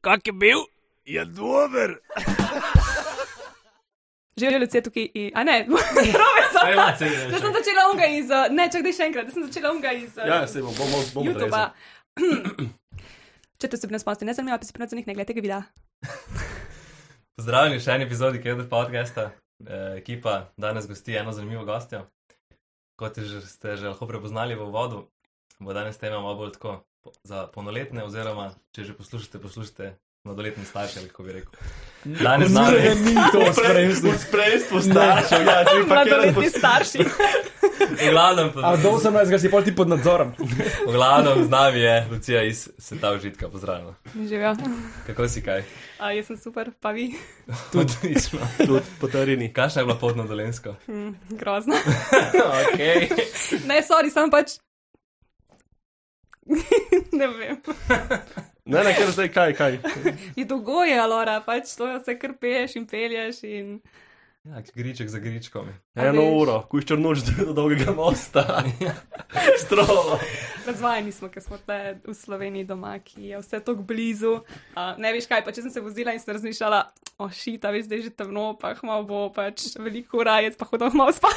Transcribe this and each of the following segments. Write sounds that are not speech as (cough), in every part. Kak je bil? Je dober. Želijo ljudje tukaj, i... a ne, (laughs) robe so. Aj, ja, saj, ja, Da sem saj. začela unga iz, uh, ne, čakaj še enkrat, da sem začela unga iz uh, Ja, se bom, bom, bom, bom YouTube-a. (clears throat) Če te osebne spomnite, ne zanima, pa si prenacenih ne gledate tega videa. Pozdravljeni v še eni epizodi Keder podcasta. Eh, Ekipa danes gosti eno zanimivo gostjo. Kot je že, ste že lahko prepoznali v uvodu, bo danes tema malo bolj tako po- za polnoletne, oziroma če že poslušate, poslušate mladoletne starše, ali kako bi rekel. Danes z nami je ni to spremstvo. spremstvo staršev, ja, (laughs) če Mladoletni starši. (laughs) v glavnem, A do 18 si pol ti pod nadzorom. v glavnem z nami je Lucija iz Sveta užitka, pozdravljena. Živijo. Kako si kaj? ja. A, jaz sem super, pa vi. (laughs) Odlično. Tudi po tarini. Kakšna je bila pot na Dolensko? Mm, (laughs) grozno. okay. (laughs) Ne, sorry, sem pač. (laughs) ne vem. Ne, ne, ker zdaj kaj, kaj. Je dogoje, Alora, pač to se kar peješ in pelješ in. Ja, griček za gričkom. A Eno veš? uro, kuš črnoč do dolgega mosta. (laughs) Strovo. Razvajeni smo, ker smo tle v Sloveniji doma, ki je vse tako blizu. Uh, ne veš kaj, pa če sem se vozila in sem razmišljala, o šita, veš, da je že temno, pa hmal bo pač veliko ura, jaz pa hodam hmal spat.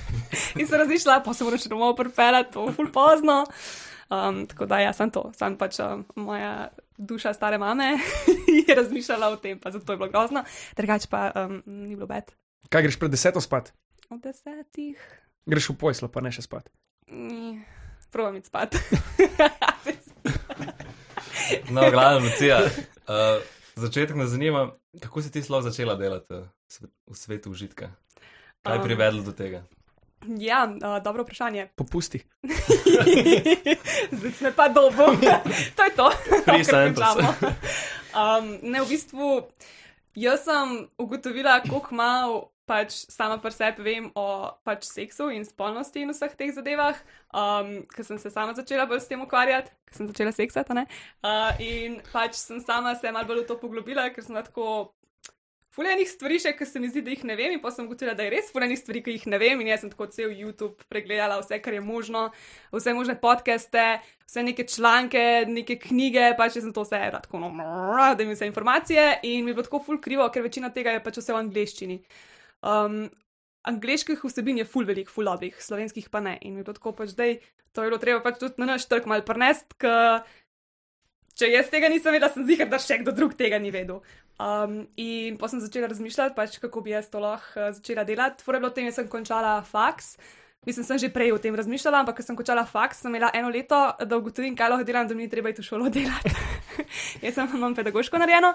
(laughs) in sem razmišljala, pa se moraš domov pripelati, to je ful pozno. Um, tako da, ja, sem to, sem pač um, moja duša stare mame (laughs) je razmišljala o tem, pa zato je bilo grozno, drugače pa um, ni bilo bed. Kaj greš pred deseto spat? Od desetih. Greš v poslo, pa ne še spat. Mm, Probam iti spat. (laughs) No, glavno, Lucija. Uh, začetek me zanima, kako si ti sploh začela delati eh, sv- v svetu užitka? Kaj je Um. privedlo do tega? ja, uh, dobro vprašanje. Popusti. Zdaj me pa dobo. to je to. Freestyle Kar pripravimo. um, ne, v bistvu, jaz sem ugotovila, koliko malo pač sama pri sebi vem o pač seksu in spolnosti in vseh teh zadevah, um, ker sem se sama začela bolj s tem ukvarjati, ker sem začela seksati, a ne. Uh, in pač sem sama se malo bolj v to poglobila, ker sem bila tako Fulejnih stvari, še, ki se mi zdi, da jih ne vem, in pa sem ugotovila, da je res fulejnih stvari, ki jih ne vem. In jaz sem tako cel YouTube pregledala vse, kar je možno, vse možne podcaste, vse neke članke, neke knjige, pač jaz sem to vse rad tako, no, da mi vse informacije. In mi je bilo tako ful krivo, ker večina tega je pač vse v angleščini. Um, angliških vsebin je ful velik, ful dobrih, slovenskih pa ne. In mi je bilo tako pač zdaj, to je bilo treba pač tudi na naš trg mal prnest, ker če jaz tega nisem vedela, sem zihar, da še kdo drug tega ni vedel. Um, in potem sem začela razmišljati, pač, kako bi jaz to lahko eh, začela delati. Torej, bilo tem, jaz sem končala faks. Mislim, sem že prej o tem razmišljala, ampak ko sem končala faks, sem imela eno leto, da ugotovim, kaj lahko delam, da mi ni treba iti v šolo (laughs) delati. jaz sem, imam pedagoško narejeno.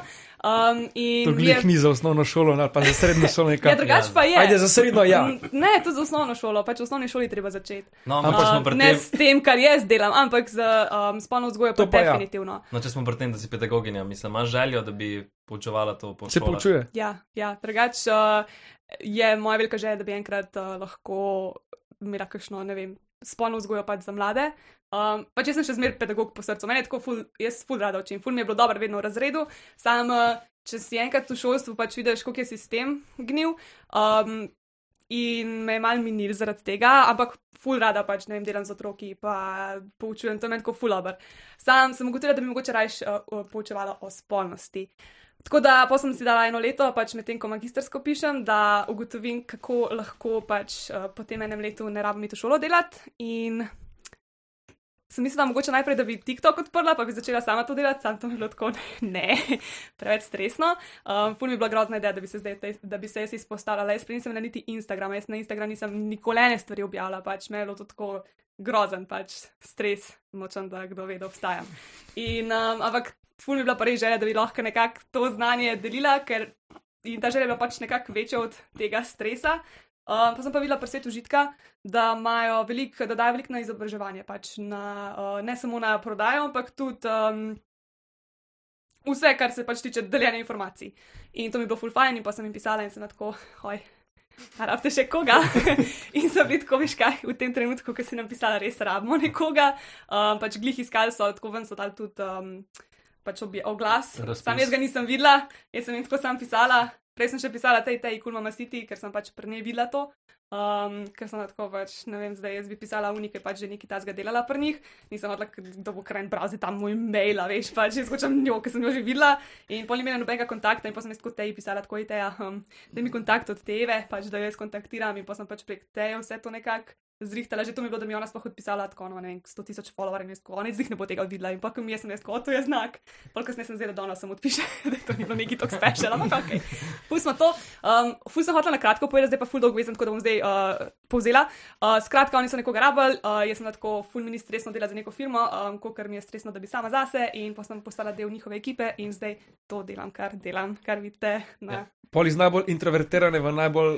Um, in To mi je- glih ni za osnovno šolo, ali pa za srednjo šolo nekaj. Ja, drugače pa je. Ajde, za srednjo, ja. Mm, Ne, to za osnovno šolo, pač v osnovni šoli treba začeti. No, ampak če smo Um, pri ne tem, s tem, kar jaz delam, ampak z um, spolno vzgojo, pa To pa ja. definitivno. no, če smo pri tem, da si pedagoginja, mislim, imaš željo, da bi poučevala to po Se šolah? poučuje. Ja, ja drugače uh, je moja velika želja, da bi enkrat uh, lahko imela kakšno, ne vem, spolno vzgojo pač za mlade. Um, pa če sem še zmeraj pedagog po srcu, meni je tako, ful, jaz ful rada učim, ful mi je bilo dobro vedno v razredu, sam, uh, če si enkrat v šolstvu pač vidiš, koliko je sistem gnil. Um, In me je mal minil zaradi tega, ampak ful rada pač, ne vem, delam z otroki, pa poučujem, to je meni tako ful ober. Sam sem ugotovila, da bi mogoče raje uh, poučevala o spolnosti. Tako da pa sem si dala eno leto, pač medtem ko magistersko pišem, da ugotovim, kako lahko pač eh, po tem enem letu ne rabim iti v šolo delati. In sem mislila, mogoče najprej, da bi TikTok odprla, pa bi začela sama to delati, sam to mi je bilo tako (laughs) ne, preveč stresno. Um, ful mi je bila grozna ideja, da bi se, zdaj, te- da bi se jaz izpostavljala. Jaz prej nisem imela niti Instagrama, jaz na Instagram nisem nikoli ene stvari objavila, pač me je bilo to tako grozen, pač stres, močen, da kdo ve, da obstajam. In, um, ampak ful mi je bila pa res želja, da bi lahko nekako to znanje delila, ker in ta želja je bila pač nekako večja od tega stresa. Um, pa sem pa videla pri svetu užitka, da imajo veliko, da dajo veliko na izobraževanje, pač na, uh, ne samo na prodajo, ampak tudi um, vse, kar se pač tiče deljenja informacij. In to mi je bilo fulfajn, in pa sem jim pisala in sem bila tako, oj, a rabite še koga? (laughs) in sem bila tako, veš kaj, v tem trenutku, ko si nam pisala, res rabimo nekoga. Um, pač glih iskali so, tako ven so dal tudi um, pač obje, oglas. Razpis. Sam jaz ga nisem videla, jaz sem jim tako sam pisala. Prej sem še pisala tej tej kulmama City, ker sem pač pri njej videla to, um, ker sem tako pač, ne vem, zdaj jaz bi pisala v nekaj pač že nekaj tazga delala pri njih, nisem odla, da bo kraj brazil tam moj mail, a veš, pač jaz hočem njo, ker sem jo že videla in pol ni imela nobenega kontakta in potem sem jaz kot tej pisala, tako je teja, um, da mi kontakt od teve, pač da jo jaz kontaktiram in potem sem pač prek teje vse to nekako zrihtala, že to mi je bilo, da mi je ona sploh odpisala, tako no, ne vem, 100 tisoč followerjev, in jaz tako, ona jih ne bo tega videla in pa, ko mi je sem jaz kot, to je znak. Polk sem jaz zdela, da ona sem odpiše, (laughs) da to ni bilo neki tok special, ampak ok. Pustimo to. Um, ful sem hotela na kratko povedati, zdaj pa ful dolgo vezem, tako da bom zdaj uh, povzela. Uh, skratka, oni so nekoga rabili, uh, jaz sem bila tako ful mini stresno delala za neko firmo, um, kot mi je stresno, da bi sama zase in pa sem postala del njihove ekipe in zdaj to delam, kar delam, kar vidite na. Ja. Pol iz najbolj introvertirane v najbolj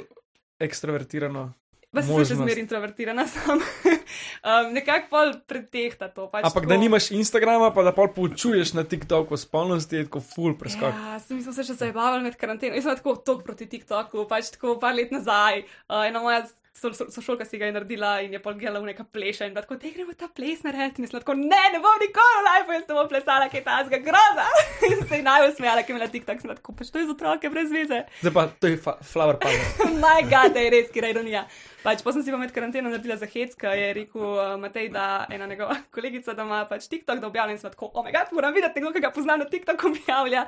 ekstrovertirano. Pa sem še Možnost. zmeraj introvertirana (laughs) sam. um, nekako pol pretehta to. Pač Ampak tako- da nimaš Instagrama, pa da pol poučuješ na TikToku o spolnosti, je tako full preskok. Ja, sem se še zabavali med karanteno. Jaz sem bila tako tok proti TikToku, pač tako par let nazaj. Uh, ena moja so- so- sošolka si ga je naredila in je polgela v neka pleša in bila tako, te gremo ta ples narediti. In sem bila tako, ne, ne bom nikoli v lajfu, jaz ne bom plesala, kaj ta zga groza. (laughs) in se je najbolj smejala, ker je imela TikTok, sem bila tako, pač to je za otroke brez veze. Zdaj pa to je fa- flower power. Maj gad, da je res, kira ironija. Pač, pa sem si pa med karanteno naredila za hec, ker je rekel uh, Matej, da ena njegova (laughs) kolegica, da ima pač TikTok, da objavlja in sem bila tako, oh, moj bog, moram videti nekoga, ki ga poznam na TikToku, (laughs) objavlja.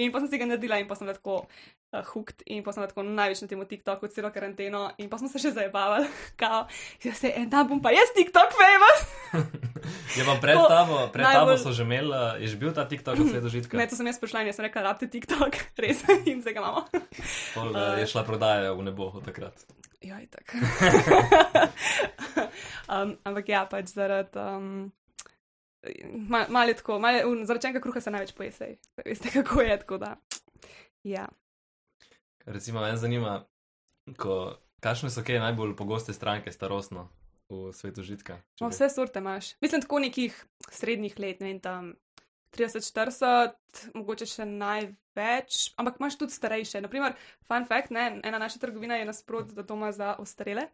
In pa sem si ga naredila in pa sem bila tako uh, hooked in pa sem bila tako največ na tem TikToku celo karanteno in pa smo se še zabavali, (laughs) kao, jaz se en dan bom pa jaz TikTok famous. Je pa pred Tako, tabo, pred tabo najbolj- so že imeli, eh, je že bil ta TikTok od vse do žitka. Ne, to sem jaz prišla in jaz sem rekla, rabite TikTok, (laughs) res, in zdaj ga imamo. Pol, eh, Je šla prodaja v nebo od takrat. Joj, tako. Ja, (laughs) um, ampak ja, pač zaradi. Um, ma- Malo je tako, mal je, un, zaradi čega kruha se največ pojese. Veste, kako je tako da. Ja. Recimo, mene zanima, ko, kakšne so kaj najbolj pogoste stranke starostno v svetu žitka? Če No, bi- vse sorte imaš. Mislim, tako nekih srednjih let, ne vem, tam 30-40, mogoče še največ, ampak imaš tudi starejše. Naprimer, fun fact, ne, ena naša trgovina je nasprot do doma za ostarele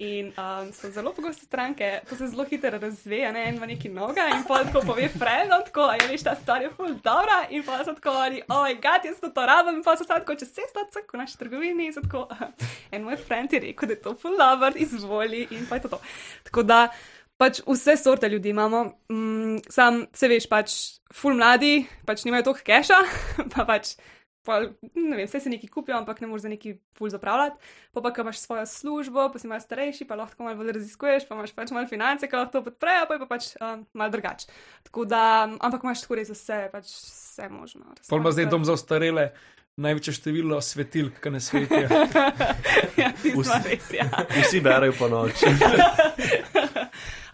in um, so zelo pogoste stranke, to se zelo hitro razve, a ne en ima neki noga in pa tako pove frendom, tako je veš, ta stvar je full dobra in pa so tako oni, oj, gat, jaz to, to rabim in pa so tako čez cesto, tako v naši trgovini in so tako, "Aha, en moj friend je rekel, da je to full dobro, izvoli in pa je to to. Tako da pač vse sorte ljudi imamo, mm, sam se veš, pač ful mladi, pač nimajo toliko keša, (laughs) pa pač. Pa, ne vem, vse se neki kupijo, ampak ne moreš za neki ful zapravljati. Pa pa, ko imaš svojo službo, pa si malo starejši, pa lahko malo bolj raziskuješ, pa imaš pač malo finance, ki lahko to podprejo, pa je pa pač um, malo drugače. Tako da, ampak imaš tako res vse, pač vse možno. Pol ima zdaj dom za ostarele, največje število svetilk, ki ne svetijo. (laughs) ja, tisto Vsi. res, ja. Vsi berajo po noči.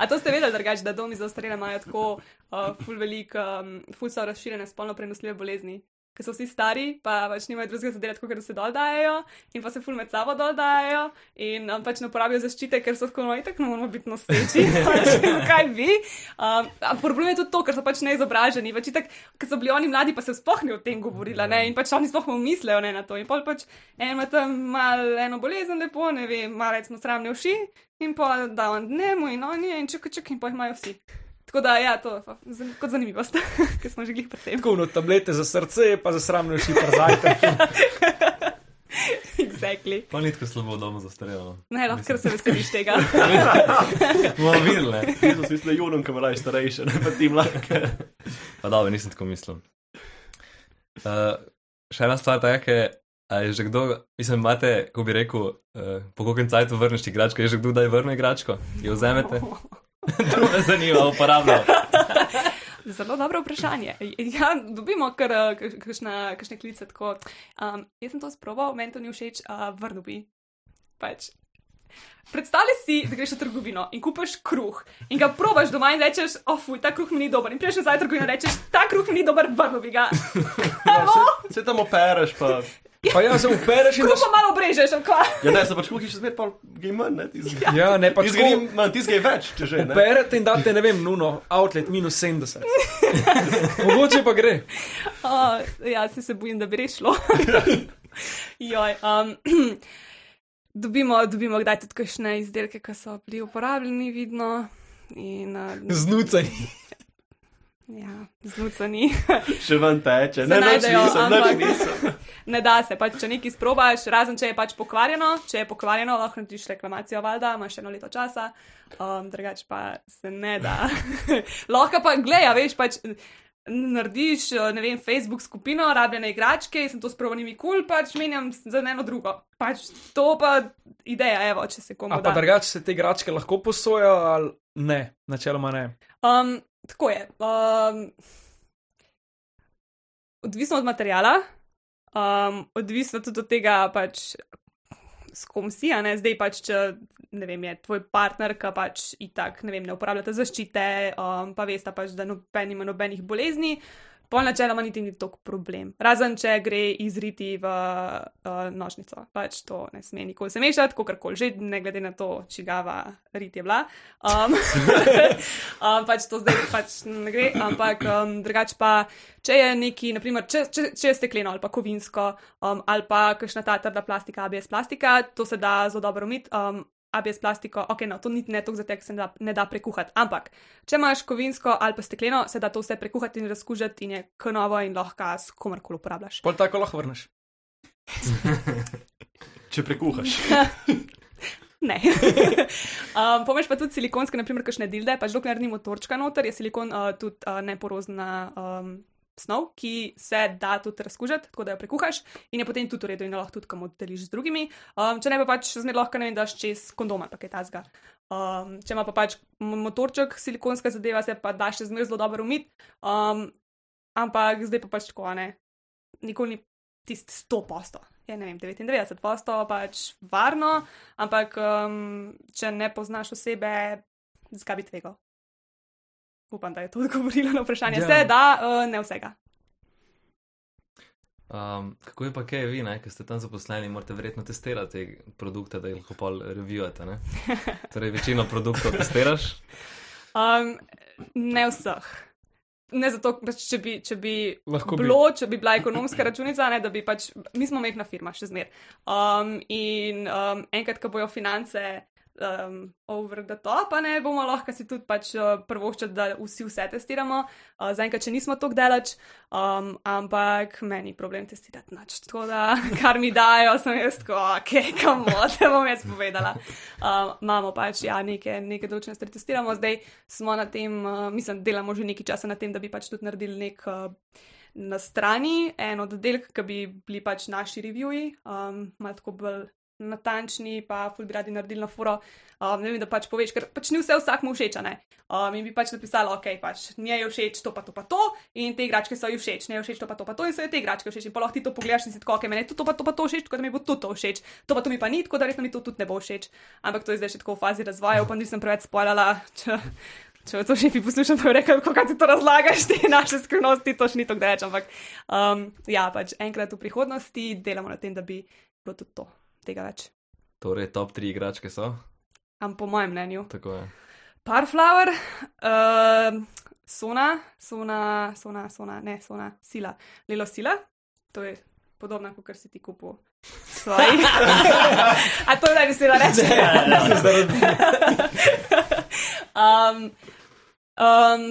A to ste vedeli, drugače, da domi za ostarele imajo tako uh, ful velik, um, ful so razširjene spolno prenosljive bolezni. Ker so vsi stari, pa pač nimajo drugega za delati, kot da se dodajajo, in pa se ful med sabo dodajajo, in um, pač ne uporabijo zaščite, ker so tako, no, itak ne moramo biti noseči, (laughs) pač, kaj bi. Um, a problem je tudi to, ker so pač neizobraženi, pač itak, ker so bili oni mladi, pa se sploh ni o tem govorila, ne, in pač oni sploh ne mislijo ne, na to. In pol pač en ima tam malo eno bolezen, lepo, ne vem, malo recimo sramne uši, in pa da on dnemu in on je in čekaj, čekaj, in pa jih imajo vsi. Tako da, ja, to je pa zan- kot zanimivost, (laughs) ker smo že glih pred tem. (laughs) Tako, no, tablete za srce, pa za sramne uši, pa zajtrk. exactly. Pa ni tako slabo v domu no. zastarelo. Ne, lahko kar se veseliš tega. Bomo videli, (laughs) ne. Jezus, mislim, da je Junon, ki velaj starejše, ne pa ti mlake. (laughs) Pa dobro, nisem tako mislil. Uh, še ena stvar, ta je, ke, a je že kdo, mislim, imate, ko bi rekel, uh, po kokem cajtu vrneš igračko, je že kdo, da je vrne igračko, jo vzamete. (laughs) to me zanima, uporabljam. Zelo dobro vprašanje. Ja, dobimo kar eh, kaš- kakšna- kakšne klice tako. Um, jaz sem to sprobal, meni to ni všeč, uh, vrnil bi. Pač. Predstavljaj si, da greš v trgovino in kupiš kruh in ga probaš doma in rečeš, ofuj, ta kruh mi ni dober. In priješ nazaj v trgovino in rečeš, ta kruh mi ni dober, vrnil bi ga. Se tam opereš, pa. Pa ja, se upereš in Kruh daš. pa malo obrežeš, ali kaj. Ja, ne, se pač kuhiš, zmer pa gej manj, ne, ti zgej. Ja, ne, pa Ti tako. zgej, manj, ti zgej več, če že, ne. Uperete in date, ne vem, nuno, outlet minus 70. Mogoče pa gre. Uh, (laughs) ja, se, se bojim, da bi rešilo. Joj, um, (clears throat) dobimo, dobimo kdaj tudi kakšne izdelke, eh, ki so bili uporabljeni, vidno. In, uh, Znucaj. Ja, zmucani. (laughs) Še ven teče. Ne, Se noč najdejo, nisem, noč ampak- nisem. (laughs) Ne da se, pač, če nekaj sprobaš, razen če je pač pokvarjeno, če je pokvarjeno, lahko narediš reklamacijo, valjda, imaš še eno leto časa, um, drugače pa se ne da. (laughs) lahko pa, glej, a veš, pač n- narediš, eh, ne vem, Facebook skupino, rabljene igračke, jaz sem to sprobal, ni mi kul, cool, pač menjam s- za eno drugo. Pač to pa ideja, evo, če se komu A pa da. drugače se te igračke lahko posojajo ali ne, načeloma ne. Um, tako je. Um, odvisno od materijala, um, odvisno tudi od tega, pač, s kom si. a ne. Zdaj pač, če ne vem, je tvoj partner, ki pač itak ne, vem, ne uporabljate zaščite, um, pa veste pač, da noben ima nobenih bolezni. Pol načeloma niti ni tako problem. Razen, če gre izriti v uh, nožnico. Pač to ne sme nikoli se mešati, kako koli že, ne glede na to, čigava rit je bila. Um, um, pač to zdaj pač ne gre, ampak um, drugače pa, če je neki, naprimer, če, če, če je stekleno ali pa kovinsko um, ali pa kakšna ta trda plastika, ABS plastika, to se da zelo dobro umiti. Um, ABS plastiko, ok, no, to ni ne tako zatek, se ne da, ne da prekuhati. Ampak, če imaš kovinsko ali pa stekleno, se da to vse prekuhati in razkužiti in je knovo in lahko s komarkoli uporabljaš. Pol tako lahko vrneš. Če prekuhaš. Ne. (laughs) um, Pomeš pa tudi silikonske, naprimer, kakšne dilde, pač dokler ni motorčka noter, je silikon uh, tudi uh, neporozna um, snov, ki se da tudi razkužiti, tako da jo prekuhaš in je potem tudi v redu in jo lahko tudi kam oddeliš z drugimi. Um, če ne pa pač zmer lahko ne vem, daš čez kondoma, tako je tazga. Um, če ima pa pač m- motorček, silikonska zadeva se pa da še zmer zelo dobro umiti, um, ampak zdaj pa pač tako, a ne. Nikoli ni tisti 100 posto. Je, ne vem, 99 posto pač varno, Ampak, um, če ne poznaš osebe, zakaj bi tvegal? Upam, da je to odgovorilo na vprašanje. Ja. Ja. Se da, uh, ne vsega. Um, kako je pa kaj vi, ne, ki ste tam zaposleni, morate verjetno testirati te produkte, da jih lahko pol revijate. ne? Torej, večino produktov testiraš. Um, ne vseh. Ne zato, pač, če bi, če bi Lahko bi. bilo, če bi bila ekonomska računica, ne, da bi pač, mi smo mehna firma, še zmer. Um, in um, enkrat, ko bojo finance um, over the top, a ne bomo lahko si tudi pač uh, prvoščili, da vsi vse testiramo. Uh, Zaenkrat, če nismo tako delač, um, ampak meni problem testirati noč. Tako da, (laughs) kar mi dajo, sem jaz tako, ok, (laughs) kamote bom jaz povedala. Um, imamo pač, ja, neke, neke določene stvari testiramo, zdaj smo na tem, uh, mislim, delamo že nekaj časa na tem, da bi pač tudi naredili nek. Uh, Na strani en oddelek, ki bi bili pač naši reviewi, um, malo tako bolj natančni, pa ful bi radi naredili na foro, um, ne vem, da pač poveš, ker pač ni vse vsakmu všeč, a ne. Um, in bi pač napisala, ok, pač njej je všeč to, pa to, pa to, in te igračke so ji všeč, ne všeč to, pa to, pa to, in so ji te igračke všeč. In pa lahko ti to pogledaš in si tako, ok, meni je to, to, pa to, pa to všeč, tako da mi bo to, to všeč, to pa to mi pa ni, tako da verjetno mi to tudi ne bo všeč. Ampak to je zdaj še tako v fazi razvoja, upam, da nisem preveč spoilala. Če... Če jo to še bi poslušal, pa bi rekel, kako ti to razlagaš, te naše skrivnosti, to še ni to, da rečem. Ampak um, ja, pač enkrat v prihodnosti delamo na tem, da bi bilo tudi to, tega več. Torej, top 3 igračke so. Ampak po mojem mnenju. Tako je. Parflower, uh, Sona, Sona, Sona, Sona, ne, Sona, Sila, Lelo Sila, to je podobno, kot kar si ti kupil. Svoji. A to naj bi se reče. ja. (laughs) um, um,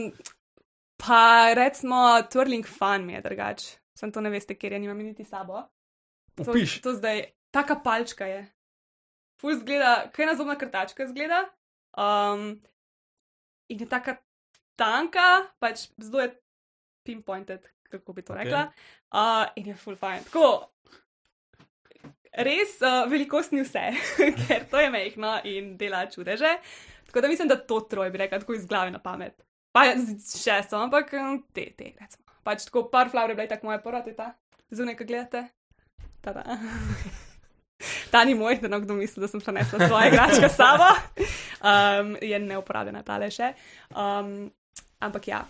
pa recimo Twirling Fan mi je drugač, sem to ne veste, ker je nimam niti s sabo. To, Upiš. to zdaj, taka palčka je. Ful zgleda, kaj na zobna krtačka zgleda. Um, in je taka tanka, pač zelo je pinpointed, kako bi to Okej. rekla. Uh, in je full fajn. Tako, res uh, velikost ni vse, (laughs) ker to je mehko in dela čudeže. Tako da mislim, da to troje bi rekla tako iz glave na pamet. Pa z- še so, ampak em, te, te, recimo. Pač tako par flower je bila tako moja prva, to je ta, zunaj, ki gledate. Ta, (laughs) ta. ta ni moj, da no kdo misli, da sem prenesla svoje igračke s sabo. Um, je neuporabljena tale še. Um, ampak ja.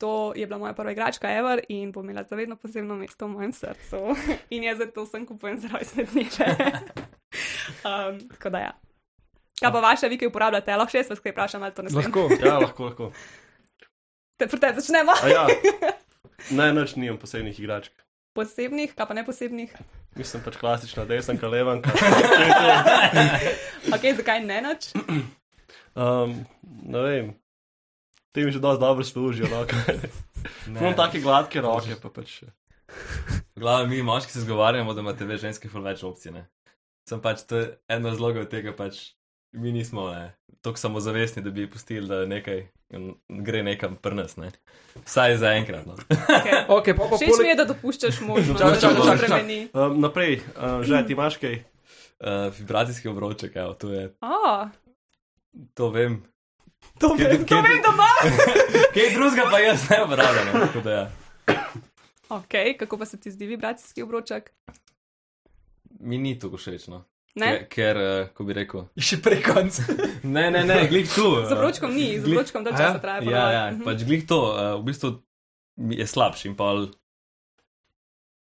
To je bila moja prva igračka, Ever, in bo imela zavedno posebno mesto v mojem srcu. (laughs) In jaz zato sem kupujem za rojstne dneve. (laughs) um, tako da ja. Kaj pa vaše, vi, ki uporabljate, lahko še jaz vas kaj vprašam, ali to ne smem. Lahko. Ja, lahko, lahko. Te, pri tebi začnemo. A ja, naj noč nimam posebnih igračk. Posebnih, kaj pa ne posebnih. Mislim pač klasična, desenka, levanka. Ok, zakaj ne noč? Um, ne vem. Te mi že dosti dobro služijo, roke. Imam take gladke roke, pa pač. Glava, mi moški se zgovarjamo, da imate več ženskih ful več opcij. Ne? Sem pač to je eno od razlogov tega, pač mi nismo ne, tako samozavestni, da bi pustili, da nekaj mm, gre nekam prnas. Ne? Vsaj za enkrat. No. Okay. Okay, pa, pa, Všeč mi poleg... je, da dopuščaš možnost, Čakaj, da se čakaj, to čakaj, spremeni. Um, naprej, um, že ti imaš kaj? Uh, vibracijski obroček, evo, to je, A, to vem. To Kje- vem, to kje- vem doma. Kaj drugega pa jaz ne obravnam. tako da Ja. Ok, kako pa se ti zdi vibracijski obroček? Mi ni to všeč, no. Ne? ker, ker uh, ko bi rekel. Še prej konc. (laughs) Ne, ne, ne, glej tu. Z obročkom ni, z Glih- obročkom dolgo Aja, časa traja. Ja, ponovadi. ja, Mhm. pač glih to, eh, v bistvu mi je slabši in pa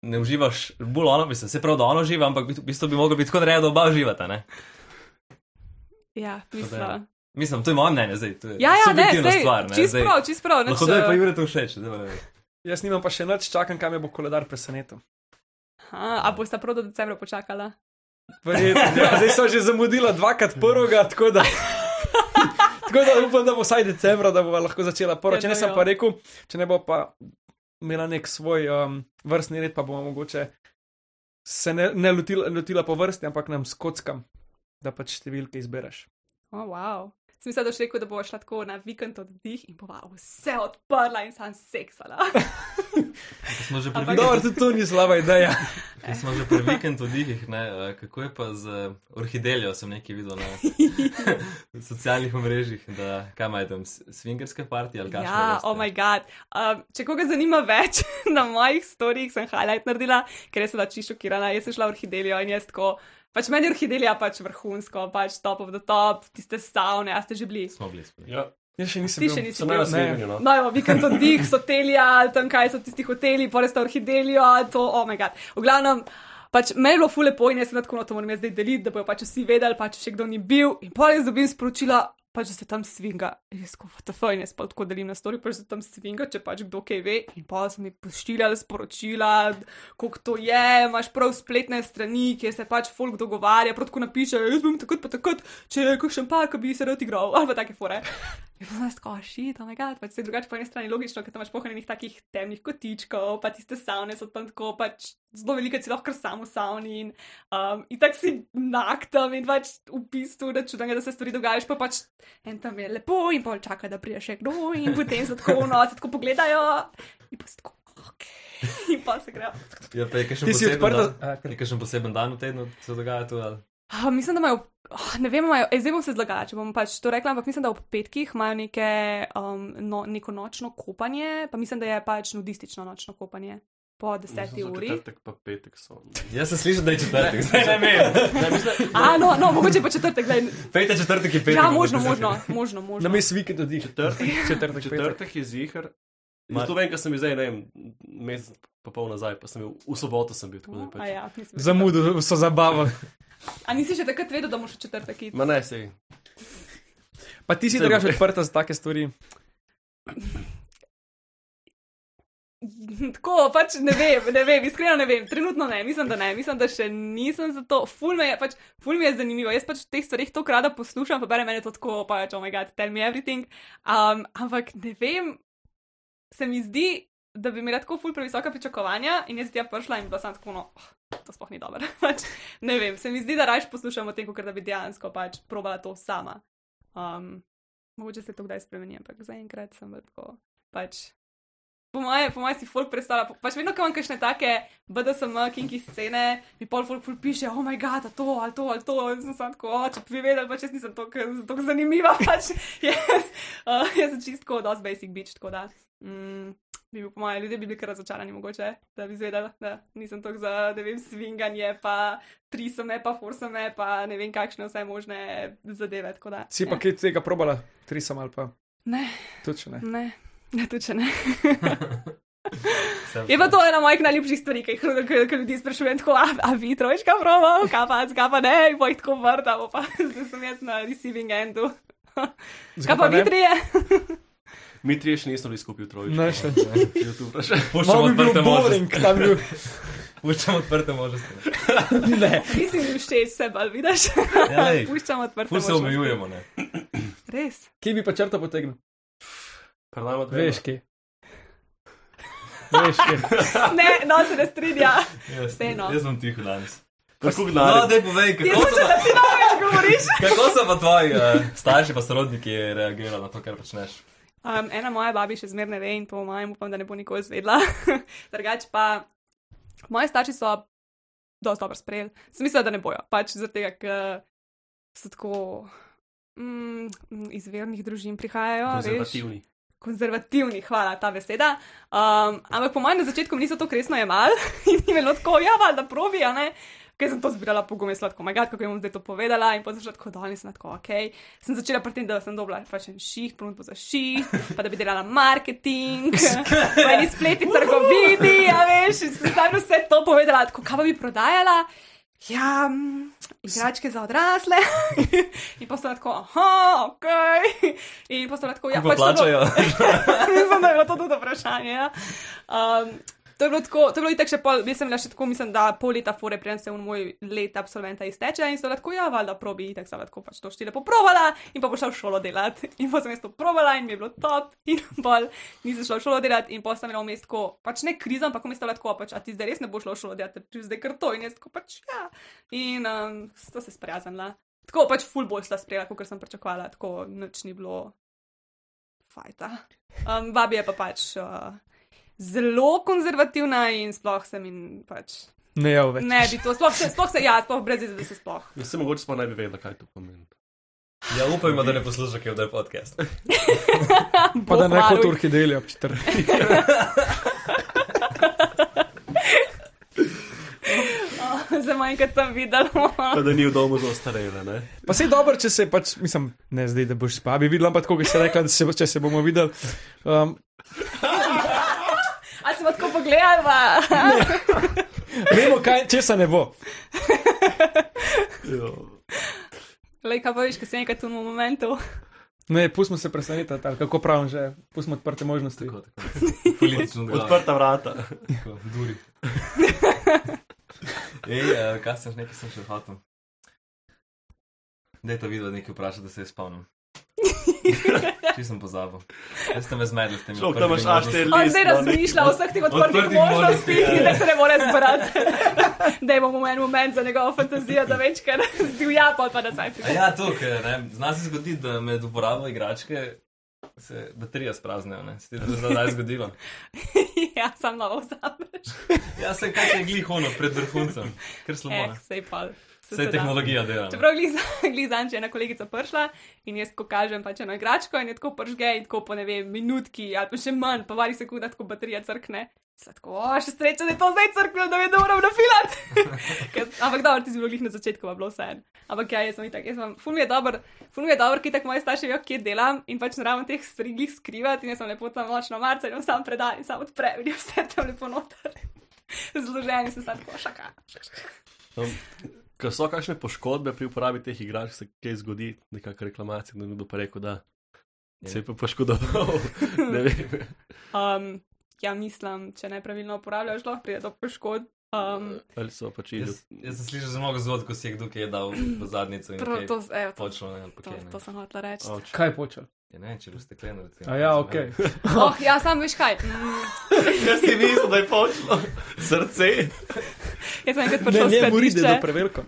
ne uživaš, bolj ono, mislim, se prav, da ono živa, ampak v bistvu bi moglo biti tako reja, da oba uživata, ne? Ja, mislim. da- Mislim, to je moje mnenje zdaj, to je Ja, ja, ne, subjektivna zdaj, stvar, ne? čist zdaj. prav, čist prav. nič, Lahko da je pa eh, Jure to všeč, zdaj pa ne vem. Jaz nimam pa še nič, čakam, kam me bo koledar presenetil. aha, A boste prav do decembra počakala? Verjetno, ja, zdaj sem že zamudila dvakrat prvega, tako da. Tako da upam, da bo vsaj decembra, da bo lahko začela prva. Če ne, Ja, sem pa rekel, če ne bo pa imela nek svoj um, vrstni red, pa bomo mogoče se ne, ne lotila, lotila po vrsti, ampak nam skockam, da pač številke izbereš. O, oh, wow. Sem se došel, da bo šla tako na vikend oddih in bova vse odprla in sam seksala. Smo že pri Ampak- Dobro, vikend, tudi to ni slaba ideja. ki smo že pri vikend odihih, ne? eh, Kako je pa z eh, orhideljo, sem nekaj videl (laughs) na socialnih omrežjih, da kaj imajo tam, s- swingerske partije ali kaj? ja, oh moj bog. Um, če koga zanima več, (laughs) na mojih storijih sem highlight naredila, ker jaz sem bila čisto šokirana, jaz sem šla v orhideljo in jaz tako. Pač meni je orhidelija pač vrhunsko, pač top of the top, tiste savne, a ste že bili. Smo bili spet. Ja, Jaz še nisem. Ti bil. še nisi sem bil. na snemanju, no. No, evo, vikend oddih, so telija, tam kaj so tisti hoteli, pore sta orhideljo, to, oh moj bog. V glavnem, pač meni je bilo fule po in jaz sem bila tako, no, to moram jaz zdaj deliti, da bojo pač vsi vedeli, pač še kdo ni bil. In pore jaz dobim sporočila, pač da se tam svinga. In jaz kot FTF in jaz pa tako delim na story, pač da se tam svinga, če pač kdo kaj ve. In pa so mi pošiljali sporočila, koliko to je, imaš prav spletne strani, kjer se pač folk dogovarja, prav tako napišejo, jaz bom takrat pa takrat, če je kakšen par, ki bi se rad igral, ali pa take fore. (laughs) In pa znaš tako, šit, oh my god, pač se drugače po eni strani logično, ker tam imaš pohanenih takih temnih kotičkov, pa tiste savne so tam tako, pač zelo velike si lahko kar sam v savni in, um, in tako si nag tam in pač v bistvu računanga, da se stvari dogajajo, pa pač en tam je lepo in pol čaka, da prije še kdo in potem se tako v noč tako pogledajo in pa se tako, ok, in pa se grejo. Ja, pa je kakšen Ti si poseben odprta. dan? A, kar- Je kakšen poseben dan v tednu, se dogaja to? Ali? A, Ah, mislim, da imajo, oh, ne vem, imajo, ej, zdaj bom se zlagala, če bom pač to rekla, ampak mislim, da ob petkih imajo neke, um, no, neko nočno kopanje, pa mislim, da je pač nudistično nočno kopanje po deseti Mislim, da uri. Četrtek pa petek so. Jaz sem slišal, da je četrtek, zdaj ne vem. Ne, mislim, A, no, no, mogoče pa četrtek, da je. (laughs) Pejte četrtek in petek. Ja, možno, možno, možno. Na možno. mest vikend odih. Četrtek, Četrtek, četrtek. četrtek je zihar. Ma- Zato vem, ker sem bil zdaj, ne vem, mesec pa pol nazaj, pa sem bil, v soboto sem bil, tako da A, pač. ja, nisem vedela. Zamudil so zabavo. A nisi še takrat vedel, da moraš v četrtek iti? Ma ne, sej. Pa ti si Zdaj bo. drugače odprta za take stvari. (laughs) Tako, pač ne vem, ne vem, iskreno ne vem, trenutno ne, mislim, da ne, mislim, da še nisem za to. Ful me je, pač, ful mi je zanimivo, jaz pač v teh stvarih to rada poslušam, pa bere meni to tako, pač, oh my god, tell me everything. Um, ampak ne vem, se mi zdi, da bi imela tako ful previsoka pričakovanja in jaz tja prišla in bila sem tako, no, oh, to sploh ni dobro. (laughs) pač, ne vem, se mi zdi, da raje poslušam o tem, kot da bi dejansko pač probala to sama. Um, mogoče se to kdaj spremeni, ampak zaenkrat sem bila tako, pač. Po mojem, po mojem si folk predstavlja, pa- pač vedno, ko imam kakšne take BDSM, kinki scene, mi pol folk ful piše, oh moj bog, to, ali to, ali to, in sem sam tako, oh, če bi vedel, pač jaz nisem tako tako zanimiva, (laughs) pač jaz, (laughs) uh, jaz sem čistko od os basic bitch, tako da. Mm, bi bil po mojem, ljudje bi bili kar razočarani mogoče, da bi izvedeli, da nisem tako za, ne vem, svinganje, pa tri seme, pa four seme, pa ne vem, kakšne vse možne zadeve, tako da. Si pa ja. kaj tega probala, tri sem ali pa. Ne, Tudi če ne. ne, ne, tudi če ne. Je pa to ena mojih najljubših stvari, ki jih ki- ki ljudi sprašujem, tako, a, a vi trojčka promo, kaj pa, kaj pa ne, in pa jih tako vrtamo, pa (laughs) zdaj sem jaz na receiving endu. Kaj pa ne? vi trije? Mi trije še nismo bili skupaj v trojici. Ne, še. (laughs) Je tu vprašanje. Puščam Malo bi bil odprte boring, možnosti. tam (laughs) bil. Puščam odprte možnosti. (laughs) Ne. Nisi mi všeč, se bal, vidiš? Ja, (laughs) lej, Puščam odprte. Ful se možnosti. omejujemo, ne. Res. Kje bi pa črto potegnil? Pred nami je Veš, ki. Veš, ki. Ne, no se ne strinja. Jaz, Vseeno. jaz sem tiho danes. tako No, gledano. daj povej, Ti kako so, slišiš, da ti ne več govoriš? kako so pa tvoji uh, starši pa sorodniki reagirali na to, kar počneš? Um, ena moja babi še zmeraj ne ve in to mojem upam, da ne bo nikoli izvedla. (laughs) Drugač pa, moji starši so dosti dobro sprejeli. Smisel, da ne bojo, pač zaradi tega, ker so tako mm, iz vernih družin prihajajo. veš. Konzervativni. Konzervativni, hvala ta beseda. Um, ampak po mojem na začetku mi niso to resno jemali (laughs) in jim je bilo tako, ja, valjda probi, a ne. Ker sem to zbirala pogum, jaz lahko, magaj, "Oh kako jim bom zdaj to povedala in potem sem šla tako dol in sem tako, ok. Sem začela pri tem, da sem dobila pač en ših, ponudbo za ših, pa da bi delala (laughs) marketing, v eni spletni trgovini, a veš, in sem zdaj vse to povedala, tako, kaj pa bi prodajala. Ja, mm, igračke za odrasle. (laughs) in potem sem bila tako, aha, ok. In potem sem bila tako, ja, Kako pač to bo- plačajo? (laughs) Mislim, da je bilo to tudi vprašanje. Ja. Um, to je bilo tako, to je bilo itak še pol, jaz sem bila še tako, mislim, da pol leta fore, preden se v moj let absolventa izteče in so bila tako, ja, valjda probi, itak sem bila tako pač to štile poprovala in pa bo šla v šolo delati. (laughs) In pa sem jaz to provala in mi je bilo top (laughs) in bolj nisem šla v šolo delati in pa sem bila vmes tako, pač ne kriza, ampak vmes je bila tako, pač, a ti zdaj res ne boš šla v šolo delati, ti zdaj kar to in jaz tako pač ja. In um, to se sprijaznila. Tako pač full bolj sta sprejela, kot sem pričakovala, tako nič ni bilo fajta. Um, babi je pa pač uh, zelo konzervativna in sploh sem in pač. Ne, ja, več. Ne bi to, sploh se, sploh se ja, sploh brez izide se sploh. Jaz se Ja, mogoče sploh ne bi vedela, kaj to pomeni. Ja, upajmo, da ne poslušaš, kaj je v podcast. Pa da ne Bog kot varuj. Turki delijo ob četrti. (laughs) Zdaj manjkrat sem videla. Pa da ni v domu za ostarele, ne? Pa se je dobro, če se pač, mislim, ne zdaj, da boš spabi videl, ampak tako, kot si rekla, da se, bo- če se bomo videli. Um, A smo tako pogledali? vemo, kaj, če se ne bo. Lej, kaj pa veš, kaj se enkrat v enem momentu. Ne, pustimo se presenetiti, ali kako pravim že, pustimo odprte možnosti. Tako, tako. (laughs) Politično odprto. Odprta vrata. Tako, (laughs) Duri. Ej, eh, kaj sem, nekaj sem še hotel. Dej ta video nekaj vprašati, da se jaz (laughs) spomnim. Če sem pozabil. Jaz sem me zmedel s tem. Človek, tam imaš On zdaj A4 list. no, ne. razmišlja o vseh teh odprtih odprtih možnostih, možnostih ja. in da se ne more zbrati. (laughs) Dajmo mu en moment za njegovo fantazijo, da večkrat (laughs) zdivja, pa pa nazaj A pride. ja, to, ker ne, zna se zgoditi, da med uporabo igračke se baterija spraznejo, ne. Se ti je to zdaj (laughs) zgodilo. (laughs) Ja, sam novo vzameš. Ja, se kaj je glihono pred vrhuncem, ker Eh, slabo. ne. sej pa. Vse je tehnologija dela. ne. Čeprav (laughs) glizan, če je ena kolegica prišla in jaz ko kažem pač eno igračko in je tako pržge in tako po ne vem minutki ali pa še manj, pa vari sekunda, tako baterija crkne. Sva Tako, o, še sreča, da je to zdaj crkvilo, da vem, da moram nafilat. (laughs) Ker- Ampak dobro, ti si bilo glih na začetku, pa bilo vse en. Ampak ja, jaz sem itak, jaz sem, ful mi je dober, ful mi je dober, ki tako moji starši vejo, kje delam in pač naravno teh stvari glih skrivati in jaz sem lepo tam nočno marca in jim sam predaj in sam odprem in je vse tam lepo noter. (laughs) Zloženi sem sam tako, šaka. Tam, Ker so kakšne poškodbe pri uporabi teh igrač, se kaj zgodi, nekakšna reklamacija, da je nekdo pa rekel, da se je pa poškodoval. ne vem. Um, ja, mislim, če nepravilno uporabljaš, lahko pride do poškodb. Um, Ali so pač že. Jaz, jaz sem slišal za mnogo zgodb, ko si je kdo kaj dal v zadnjico in prav, to, kaj z- evo, to, počno, ne, ali pa to, kaj, ne. to sem hotela reči. Avč. Kaj počel? Ja, ne, če bi steklen, recimo. A ja, ok. Oh, ja, sam veš kaj. Mm, Jaz ti mislim, da je počlo srce. jaz sem enkrat prišla Ne, v ne, mori, da je skladišče. to preveliko.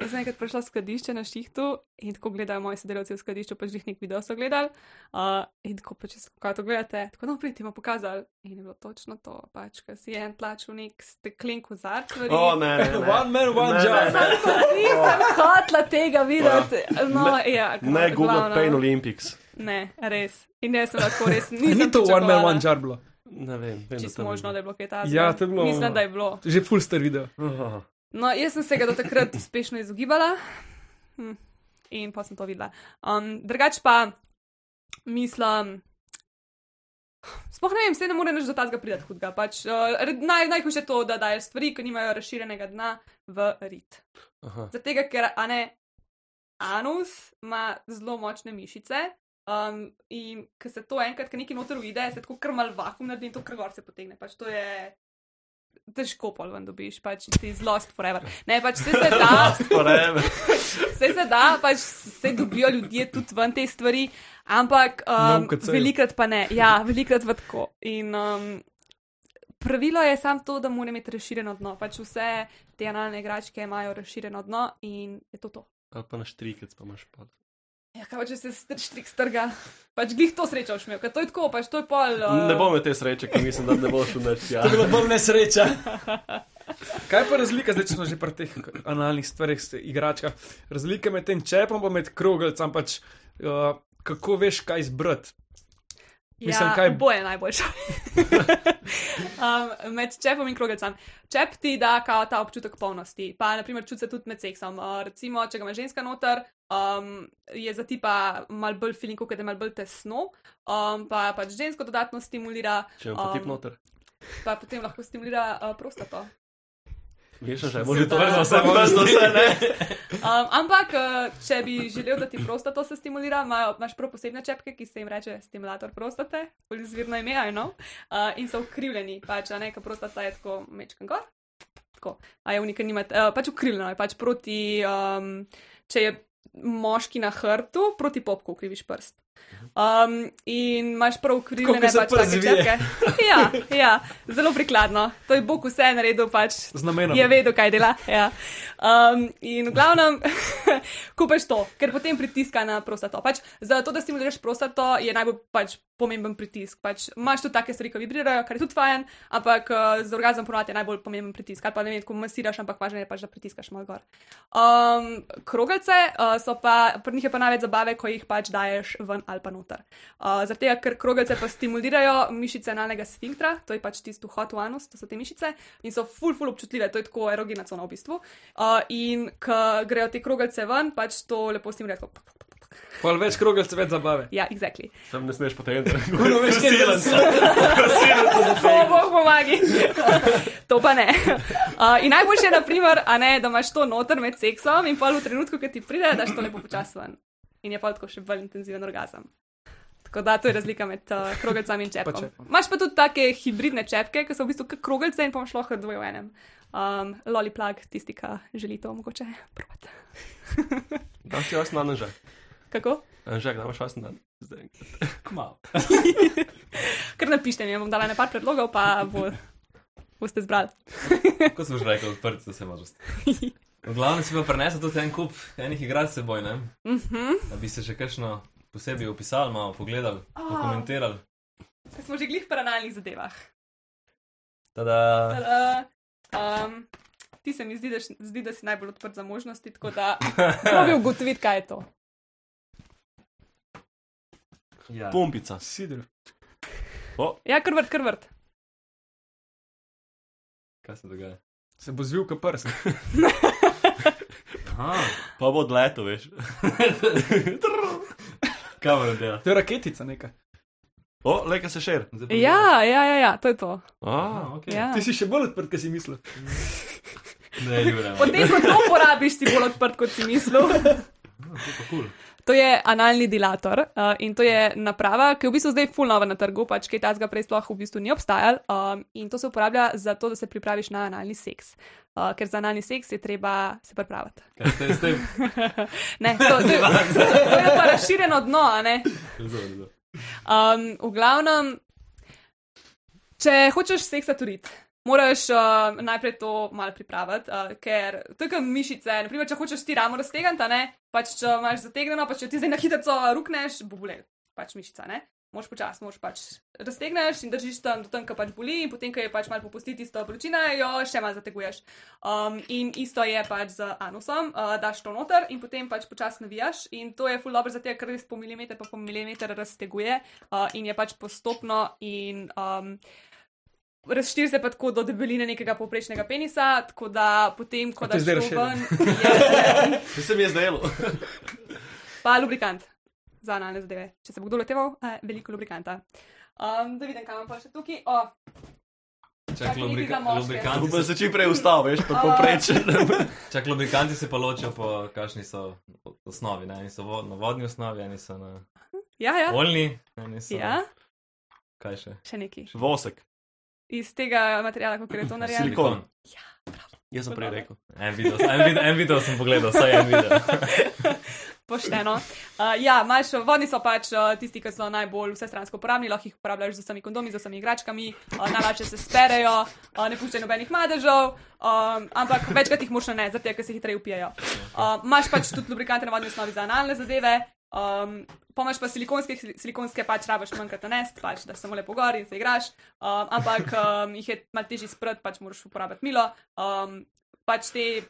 Jaz sem enkrat prišla v skladišče na šihtu in tako gledajo moji sodelavci v skladišču, pač jih nek video so gledali. Uh, in tako pač, jaz, kaj to gledate, tako no, pridite, ima pokazali. In je bilo točno to, pač, ker si je en tlačil nek steklen kozarc. stvari. O, ne, ne, ne. One man, one Ne, ne, job. ne. Nisem hotla tega videti. No, ja, Ne, Google glavno. Pain Olympics. Ne, res. In jaz sem lahko res Ni nisem. to one man, pričakovala. one job bilo. Ne vem, vem Čisto možno, da je bilo kaj takega. Ja, to je bilo- Mislim, da je bilo. Že full star video. je. No, jaz sem se ga do takrat uspešno izogibala hm. in pa sem to videla. Um, drugač pa mislim. Sploh ne vem, se ne more nič do tazga pridati hudega. Pač, uh, re- naj, najhujše je to, da daješ stvari, ki nimajo razširjenega dna v rit. Aha. Zato, ker a ne, anus ima zelo močne mišice. Um, in ko se to enkrat, ki nekaj noter uide, se tako krmal vakum naredi in to krgor se potegne. Pač to je težko pol ven dobiš, pač ti iz Lost Forever. Ne, pač se, se da, se, se da, pač se dobijo ljudje tudi ven te stvari, ampak um, Na UKC-ju. velikrat pa ne, ja, velikrat pa tako. In um, pravilo je samo to, da mora imeti razširjeno dno, pač vse te analne igračke imajo razširjeno dno in je to to. Ali pa naš trikec, pa imaš pod. Ja, kaj pa če se str- štrik strga, pač glih to srečo šmev, ker to je tako, pač to je pol. Uh, Ne bom imel te sreče, ker mislim, da ne bo šel več. Ja. To je bila bolj nesreča. Kaj pa je razlika, zdaj če smo že pri teh analnih stvarih, s- igračkah? Razlika med tem čepom in med krogelcem pač. Uh, Kako veš, kaj izbrati? ja, mislim, kaj- Boje najboljše. (laughs) um, med čepom in krogecem. Čep ti da kao ta občutek polnosti, pa naprimer čuti se tudi med seksom. Uh, recimo, če ga ima ženska noter, um, je za tipa mal bolj feeling, kot da je mal bolj tesno, um, pa pač žensko dodatno stimulira, Če imam pa tip Um, noter. pa potem lahko stimulira uh, prostato. Veš, že Že to moraš to vrzo vrzel vse, vrzo vse, ne. Um, ampak, uh, če bi želel, da ti prostata se stimulira, imajo, imaš prav posebne čepke, ki se jim reče stimulator prostate, bolj izvirno ime, aj no, uh, in so ukrivljeni, pač, a ne, ker prostata je tako mečkan gor. Tako, a je unika nimate, uh, pač ukrivljeno je, pač proti, um, če je moški na hrtu, proti popku ukriviš prst. Um, in imaš prav ukrivljene Mhm. Tako, ko se pač prst take zvije. čepke. (laughs) Ja, ja, zelo prikladno. To je Bog vse naredil, pač Z namenom. Je vedel, kaj dela. Ja. Um, in v glavnem, (laughs) kupaš to, ker potem pritiska na prostato. Pač, zato, da stimuliraš prostato, je najbolj pač, pomemben pritisk. Pač, imaš tudi take stvari, ki vibrirajo, kar je tudi fajn, ampak uh, z orgazmom ponovadi je najbolj pomemben pritisk. Ali pa ne vem, ko masiraš, ampak važno je pač, da pritiskaš malo gor. Um, krogelce uh, so pa, pri njih je pa največ zabave, ko jih pač daješ ven ali pa noter. Uh, Zaradi tega, ker krogelce pa stimulirajo mišice analnega sfinktra, to je pač tisto hot anus, to so te mišice in so ful, ful občutljive, to je tako erogena cona v bistvu. Uh, in ko grejo te krogelce ven, pač to lepo stimulira. tako. Pol več krogelcev, več zabave. Ja, exactly. Sam ne smeš potem. (laughs) Kdo Kuno, veš, kje je To bo pomagi. (laughs) to pa ne. Uh, in najboljše je, naprimer, a ne, da imaš to noter med seksom in pa v trenutku, ki ti pride, daš to lepo počasi ven. In je pa tako še bolj intenziven orgazem. Tako da to je razlika med uh, krogelcem in čepom. čepom. Imáš pa tudi take hibridne čepke, ki so v bistvu kot krogelce in pa imaš lahko dvoje v enem. Um, Loli plag, tisti, ki želi to mogoče probati. Daš ti osna anžak. Kako? Anžak, da imaš osna. Zdaj. Kmalo. Kar napište, ne bom dala nekaj predlogov, pa bo, boste zbrali. (laughs) Kot sem že rekel, odprt so se možnost. V glavnem si pa prenesel tudi en kup enih igrač s seboj, ne? Uh -huh. Da bi se še kakšno posebej opisal, malo pogledal, Ah. pokomentiral. Smo že glih pri analnih zadevah. Tada. Tada. Um, ti se mi zdi da, š- zdi, da si najbolj odprt za možnosti, tako (laughs) da probi ugotoviti, kaj je to. Ja. Pumpica. Sidr. Ja, krvrt, krvrt. Kaj se dogaja? Se bo zvil kot prst. Aha. Pa bo odletel, veš. (laughs) Kamera dela. To je raketica neka. O, leka se šer. Zdaj pa Ja, ja, ja, ja, to je to. A, Aha, ok. Ja. Ti si še bolj odprt, kot si mislil. Ne, Jure. Potem, ko to porabiš, si bolj odprt, kot si (laughs) mislil. No, Cool. To je analni dilator uh, in to je naprava, ki je v bistvu zdaj fulnova na trgu, pač kaj tazga prej sploh v bistvu ni obstajal um, in to se uporablja za to, da se pripraviš na analni seks. Uh, ker za analni seks je treba se pripraviti. Kaj ste s tem? Ne, to, to, to, to je pa razširjeno dno, a ne? Razumem, Um, v glavnem, če hočeš seksa turiti, moraš uh, najprej to malo pripraviti, uh, ker to je kot mišice. Naprimer, če hočeš ti ramo raztegniti, a ne, pač če imaš zategnjeno, pač če ti zdaj na hitro rukneš, bo bolel, pač mišica, ne. Moš počasi, moš pač raztegneš in držiš tam do tam, kjer pač boli, in potem, ko je pač malo popusti tisto vročina, jo še malo zateguješ. Um, in isto je pač z anusom, uh, daš to noter in potem pač počasi navijaš. In to je full dobro, zato ker res po milimeter, pa po milimeter razteguje uh, in je pač postopno in um, razširi se pa tako do debeline nekega povprečnega penisa, tako da potem, ko A to daš je zdaj to razširjeno? ven, je Če se mi je zdelo. pa lubrikant za analne zadeve. Če se bo kdo loteval, eh, veliko lubrikanta. Um, da vidim, kam imam pa še tukaj. O, Čak, Čak, nekaj za moške. lubrikanti Upam, da se, se čim prej ustal, veš, pa A. poprečen. čak, lubrikanti se pa ločijo po kakšni so o- osnovi. Ne? Eni so vo, na vodni osnovi, eni so na ja, ja, oljni, eni so. ja, Kaj še? še neki. (laughs) Vosek. iz tega materijala, kako je to narejeno. Silikon. Ja, Jaz sem prej rekel. En video, en video, en video sem pogledal, vsaj en (laughs) video. Pošteno. Uh, ja, imaš, vodni so pač uh, tisti, ki so najbolj vsestransko uporabni, lahko jih uporabljaš z vsemi kondomi, z vsemi igračkami, uh, najlažje se sperejo, uh, ne puščajo nobenih madežev, um, ampak večkrat jih moraš ne, zaradi tega, ker se hitreje upijajo. Uh, Imáš pač tudi lubrikante na vodni osnovi za analne zadeve, um, pomaž pa silikonske, silikonske pač rabaš manjkrat nanest, pač da samo lepo gor in se igraš, um, ampak um, jih je malo težje sprati, pač moraš uporabljati milo. Um, pač te.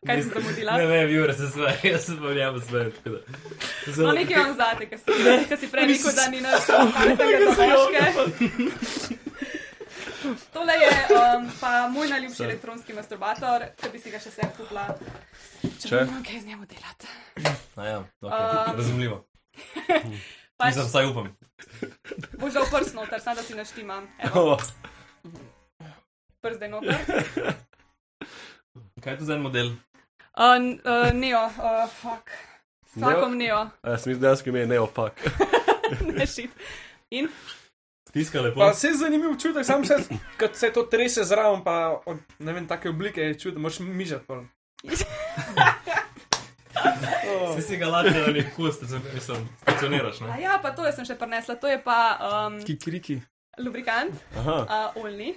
Kaj si zamudila? Ne, ne, Jure se smej, (laughs) jaz se pa njemu smej. tako da. No, Zelo- nekaj imam zate, ker si, ker si prej rekel, da ni (laughs) nič pametnega za moške. (laughs) Tole je um, pa moj najljubši elektronski masturbator, ki bi si ga še sem kupila. Če Če? bi imel kaj z njim delati. A Ja, Um, okay. Razumljivo. Pač Mislim, vsaj upam. boš dal prst noter, sam da ti naštimam. Evo, Oh, prst zdaj (laughs) noter. Kaj je to za en model? Uh, n- uh, neo, uh, fuck. Svakom neo, jaz sem dejansko imel neopak. (laughs) ne šit. In Stiska lepo. Pa se je zanimiv čutek, sam se, kot se to trese zraven, pa od, ne vem, take oblike je čudno, moraš mižati. pol. Oh. Vsi si ga lačeš na nek kus, stacion- mislim, stacioniraš, a ne? ja, pa to jaz sem še prinesla, to je pa um, Kikiriki. lubrikant. Aha. uh, oljni.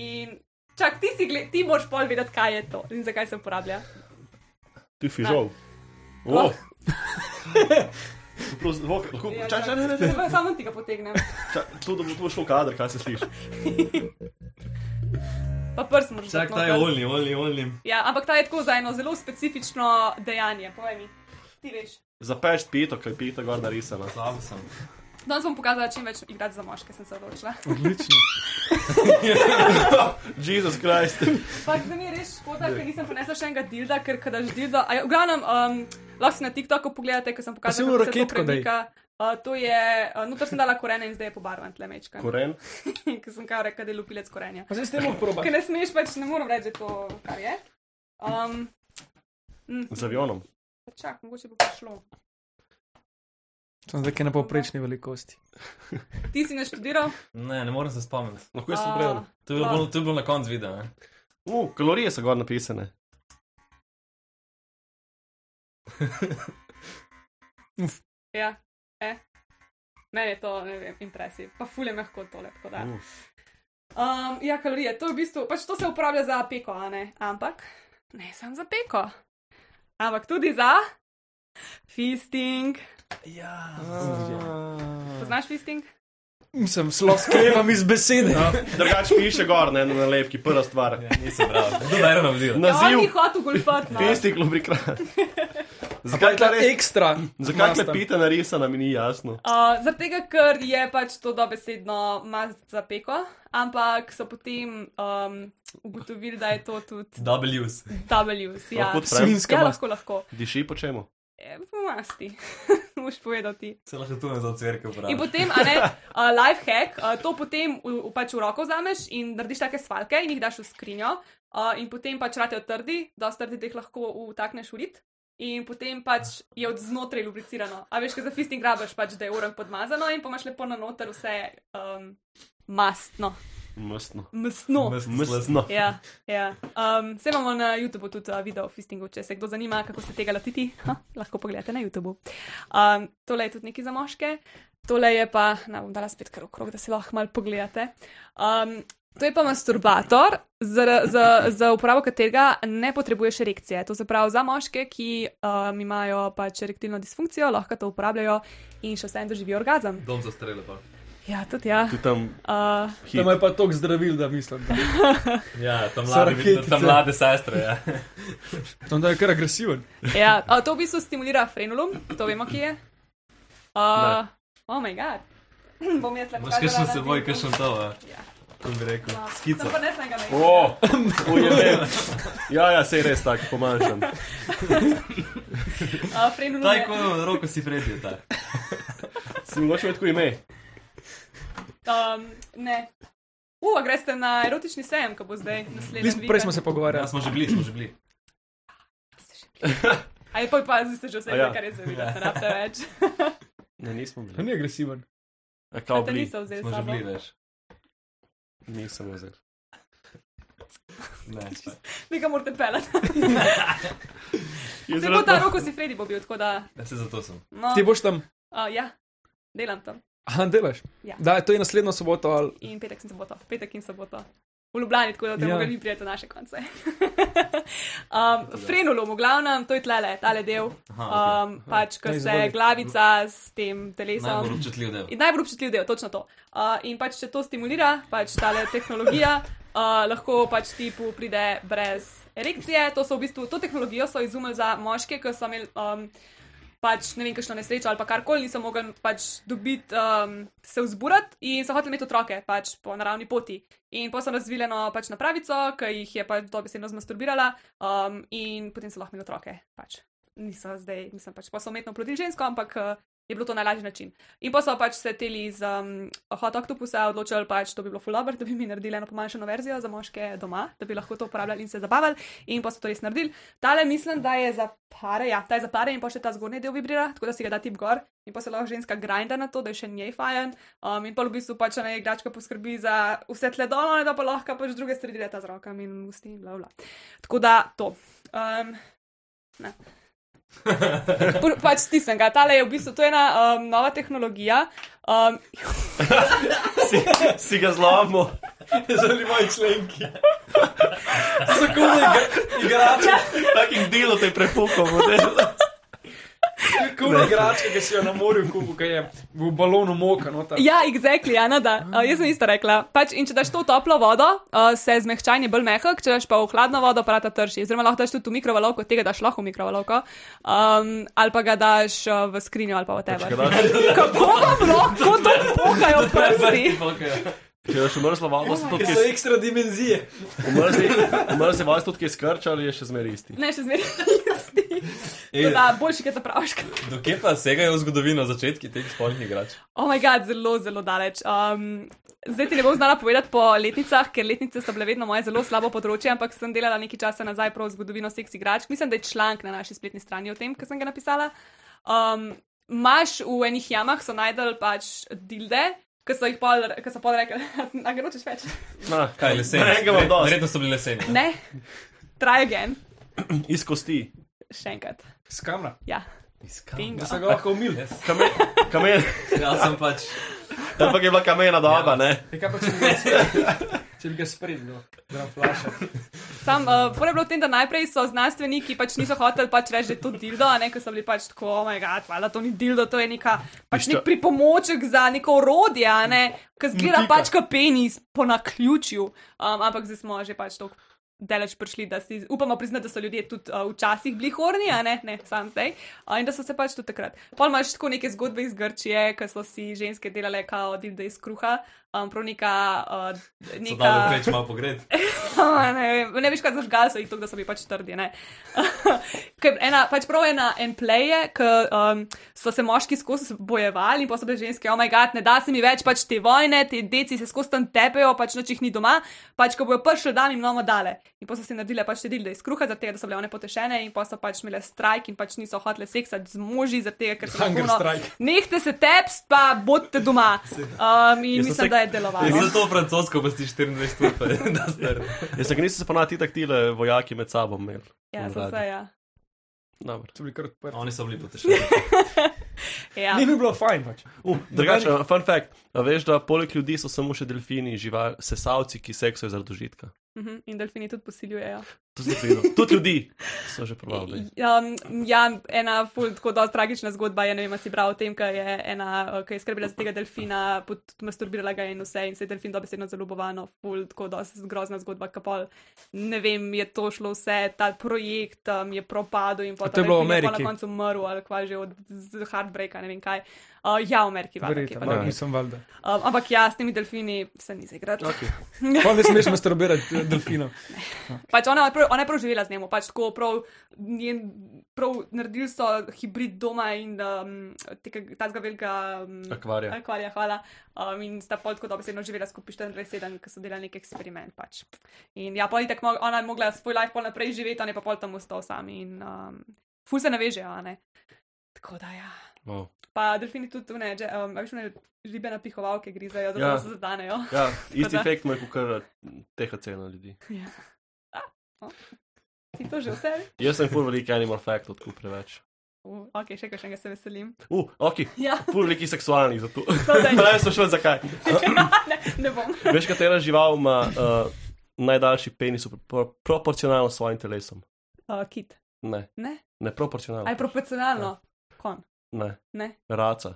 In čak ti si, gled, ti moraš pol vedeti, kaj je to in zakaj se uporablja. Ti si žal. Oh. Ja, Čakaj, čakaj, ne, ne, ne. Zdaj pa Samo ti ga potegnem. Čak, To, da bo to šlo v kader, kaj se sliši. Pa prst moraš Čak, dati ta je noter. oljni, oljni, oljni. Ja, ampak ta je tako za eno zelo specifično dejanje, povej mi. Ti veš. Zapeč pito, kaj pito gor narisano. Slabo sem. Danes bom pokazala čim več igrati za moške, sem se (laughs) odločila. Odlično. Jezus Krist. Ampak Pač, zdaj mi je res škoda, ker nisem prinesla še enega dilda, ker kadaš dildo. A Ja, v glavnem, um, lahko si na TikToku pogledate, ker sem si pokazala, eno kako se raketko to daj. premika. Uh, to je, uh, noter sem dala korene in zdaj je pobarvan tlemečka. Koren. (laughs) ker sem kar rekla, da je lupilec korenja. Pa zdaj s tem bom probal. Ker ne smeš, pač ne morem reči, da je to kar je. Um, mm, Z avionom. čak, mogoče bo prišlo. Sem zdaj na povprečni velikosti. Ti si naštudiral? Ne, ne morem se spomniti. Lahko jaz sem prej. To je bilo bolj- to je bilo na koncu videa, ne? Uh, kalorije so gor napisane. Ja, eh. Meni je to, ne vem, impresiv. Pa fulje mehko tole, tako da. Uh. Um, ja, kalorije, to je v bistvu, pač to se uporablja za peko, a ne? Ampak ne samo za peko. Ampak tudi za fisting. Ja. Poznaš fisting? Sem sloh sklepam iz besede. No, Drugač piše gor, ne na nalepki, prva stvar. Nisem prav. Kdo bere na video? Ja, on ni Naziv. hotel golfati. No. Pesti lubrikant. Zakaj Kaj ta ta res? ekstra? Zakaj masten. klepita narisana, mi ni jasno. Uh, Zaradi tega, ker je pač to dobesedno mast za peko, ampak so potem um, ugotovili, da je to tudi W's. W's. Ja, Lahko odprem? Svinska ja mast. lahko, lahko. Diši po čemu? E, po masti, (laughs) moš povedati. Se lahko tu ne za cvrke In uporablja. potem, a ne, uh, life hack, uh, to potem v, v, pač v roko vzameš in narediš take svalke in jih daš v skrinjo. Uh, in potem pač ratejo trdi, dosta trdi, da jih lahko vtakneš v rit. In potem pač je od znotraj lubricirano. A veš, kaj za fisting grabaš, pač, da je urem podmazano in pa imaš lepo na noter vse um, mastno, Mestno. mastno. Mastno. Mestno. Ja, ja. Um, Vse imamo na YouTubu tudi uh, video o fistingu, če se kdo zanima, kako se tega lotiti, ha, lahko pogledate na YouTubu. Um, tole je tudi nekaj za moške, tole je pa, na bom dala spet kar okrog, da si lahko mal pogledate. Um, to je pa masturbator, za, za, za uporabo katerega ne potrebuješ erekcije. To se pravi, za moške, ki um, imajo pač erektilno disfunkcijo, lahko to uporabljajo in še vsem doživijo orgazem. Dom za strele pa. Ja, tudi ja. Tu tam Uh, Tam hit. je pa toliko zdravil, da mislim. Da. Ja, tam So mlade, raketice. tam mlade sestre, ja. Tam da je kar agresiven. Ja, a, to v bistvu stimulira frenulum, to vemo, kje je. Uh, oh, moj bog. (laughs) Bom jaz lepo. Imaš kakšen s seboj, kakšen to, a? Ja, To bi rekel. Skico. Sem pa nesnega več. O, ujemem. Ja, ja, sej res tako pomanjšam. Uh, frenulum. Taj, je- ko roko si predil, ta. Si mogoče imel tako ime? Um, ne. U, a greste na erotični sejem, ko bo zdaj List, naslednji. prej (laughs) smo se Ja, pogovarjali. smo že bili, smo že bili. Ali pa pa zdaj ste že vse, A ja. ja. kar je zdaj videti, ne rabite več. Ne, nismo bili. Ni agresiven. Ja, kao Te bili. niso vzeli Smo že sabo. bili, veš. Nisem vzel. Ne, Vi ga morate pelati. Jaz Zdaj bo ta rad- roko si Freddy bo bil, tako da. ne, se Ja, zato sem. No, Ti boš tam, a, ja, delam tam. aha, delaš. Ja. Da, to je naslednjo soboto ali In petek in soboto, petek in soboto. V Ljubljani, tako da te Ja. ja. mi prijete naše konce. (laughs) um, Frenulom, v glavnem, to je tlele, tale del. Aha, Um, pač, ko Ja, se izvoli. glavica s tem okay. Najbolj telesom. občutljiv del. In najbolj občutljiv del, točno to. Uh, in pač, če to stimulira, pač ta tehnologija, uh, lahko pač tipu pride brez erekcije. To, so v bistvu, to tehnologijo so izumili za moške, ki so imeli um, pač ne vem, kakšno nesrečo ali pa karkoli, niso mogli pač dobiti, um, se vzburati in so hoteli imeti otroke pač po naravni poti. In potem so razvili eno pač napravico, ki jih je pač dobesedno zmasturbirala um, in potem so lahko imeli otroke. Pač. Niso zdaj, mislim pač, pa so umetno plodili žensko, ampak uh, je bilo to najlažji način. In pa so pač se teli z um, hot octopusa odločili, pač to bi bilo fulabr, da bi mi naredili eno pomanjšano verzijo za moške doma, da bi lahko to uporabljali in se zabavali. In pa so to res naredili. Tale mislim, da je za pare, ja, ta je za pare in pa še ta zgornji del vibrira, tako da si ga da tip gor. In pa se lahko ženska grinda na to, da je še njej fajen. Um, in pa v bistvu pač ena igračka poskrbi za vse tle dol, da pa lahko pač druge stvari leta z rokami in usti in bla bla. Tako da to. Um, pr- pač stisnem ga. Tale je v bistvu to je ena um, nova tehnologija. Um, Si ga zlomil. Zelo moji členki. Zakonje igrače, Takim delom te prepukal. kune igrače, ki si jo na morju kupil, ki je v balonu moka. No, ta- Ja, exactly, Ana, da. Uh, jaz sem isto rekla. Pač, in če daš to v toplo vodo, uh, se zmehčanje bolj mehak, če daš pa v hladno vodo, pa ta trši. Oziroma, lahko daš tudi v mikrovalovko, tega daš lahko v mikrovalovko, um, ali pa ga daš uh, v skrinjo ali pa v tebe. Kako vam lahko to pokajo prsti? Če daš umrzlo vodo, se Ja, Ki tudi so ekstra dimenzije. umrzlo vodo, se tudi skrča ali je še zmeraj isti. Ne, še zmeraj. (laughs) isti. Tako Da, boljši, kaj zapraviš. Dokje pa segajo v zgodovino začetki teh spolnih igrač? Oh, moj bog, zelo, zelo daleč. Um, zdaj ti ne bom znala povedati po letnicah, ker letnice so bile vedno moje zelo slabo področje, ampak sem delala nekaj časa nazaj prav zgodovino seks igračk. Mislim, da je članek na naši spletni strani o tem, ki sem ga napisala. Um, Maš v enih jamah so najdel pač dilde, ki so jih pol, ki so pol rekli, (laughs) da ga nočeš več. Na, Kaj, leseni? Enega imam Verjetno- dosti. Verjetno so bili leseni. Ne, try again, Iz kosti. še enkrat. S kamera. Ja, Iskam. Bingo. Da se ga lahko umil. Jaz Kamen, kamen. jaz sem pač. (laughs) Ampak je bila kamena Ja. doba, ne? Je kaj pa če (laughs) bi ga Ja. spremljal? Če bi ga spremljal, da flaša. Sam, uh, prvo je bilo v tem, da najprej so znanstveniki pač niso hoteli pač reči, da je to dildo, a ne, ker so bili pač tako, oh moj bog, hvala, to ni dildo, to je neka, pač Ništa. nek pripomoček za neko orodje, a ne, ki zgleda Pika. pač kot penis po naključju. Um, ampak zdaj smo že pač tako daleč prišli, da si upamo priznati, da so ljudje tudi uh, včasih bili horni, a ne, ne sam zdaj, uh, in da so se pač tudi takrat. Pol imaš tako neke zgodbe iz Grčije, ki so si ženske delale kao dildo iz kruha, um, prav neka. Uh, Neka... neka Dalo preč malo pogled. (laughs) Ah, ne, vem, ne veš, kaj zažgal so jih to, da so bili pač trdi. ne. (laughs) Ker ena, pač prav ena en play je, ki um, so se moški skozi bojevali in posebej ženske, oh moj bog, ne da se mi več pač te vojne, te deci se skozi tam tepejo, pač noč jih ni doma, pač ko bojo prišli, da jim nomo dale. In pa so si naredile pač te dilde iz kruha, zaradi tega, da so bile one potešene in pa so pač imele strajk in pač niso hotele seksati z moži, zaradi tega, ker so Hunger tako, no, strike. Nehte se tepst, pa bodite (laughs) doma. Um, in Jaz sem mislim, se- da je delovalo. Jaz sem to francosko, pa si 24 ur, pa je (laughs) da star. Jaz sem nisem se ponavadi tak tile vojaki med sabo imel. Ja, Na so se, radi. ja. Dobro. To bi kar odprl. Oni so bili potešeni. ja. Ni bi bilo fajn pač. Uh, drugače, fun fact. A veš, da poleg ljudi so samo še delfini, žival, sesalci, ki seksajo zaradi užitka. Mhm, In delfini tudi posiljujejo. To sem videl. Tudi ljudi so že probavali. Um, ja, ena ful, tako dosti tragična zgodba je, ne vem, a si bral o tem, ker je ena, ki je skrbela za tega delfina, pot- masturbirala ga je in vse, in se je delfin dobesedno zaljubovano, ful, tako dosti grozna zgodba, kapol. Ne vem, je to šlo vse, ta projekt um, je propadel in A potem to je bilo v na Ameriki? koncu umrl ali kva že od z- heartbreaka, ne vem kaj. Uh, ja, v Ameriki, valjda, kje pa Verjetno, drugje. no, nisem valjda. um, ampak ja, s temi delfini se ni zaigrati. (laughs) Okay. Pol ne smeš masturbirati eh, delfinov. Pač ona, je prav- ona je prav živela z njim, pač tako prav, njen, prav naredili so hibrid doma in um, tega velikega um, Akvarija. akvarija, hvala. Um, in sta pol tako dobesedno živela skupaj 24-7, ker so delali nek eksperiment. Pač. In ja, pol tako ona je mogla svoj life pol naprej živeti, on je pa pol tam ostal sam in um, ful se navežejo, a ne. Tako da ja. Wow. Pa delfini tudi, ne, že, um, a veš, ne, ribe na pihovalke grizajo, zato Ja. da se zadanejo. Ja, isti da- efekt ima kot THC na ljudi. Ja. (laughs) A, o, Ti to že vse? Jaz sem fur velik animal fact, odkud preveč. Uh, ok, še kakšnega se veselim. Uh, ok, (laughs) Ja, fur veliki seksualni zato. to da je. Pravi so šel (laughs) zakaj. ne, ne bom. Veš, katera žival ima uh, najdaljši penis v pro proporcionalno svojim telesom? Uh, kit. Ne, Ne? ne A je proporcionalno. proporcionalno? Kon. Ne, Ne? raca.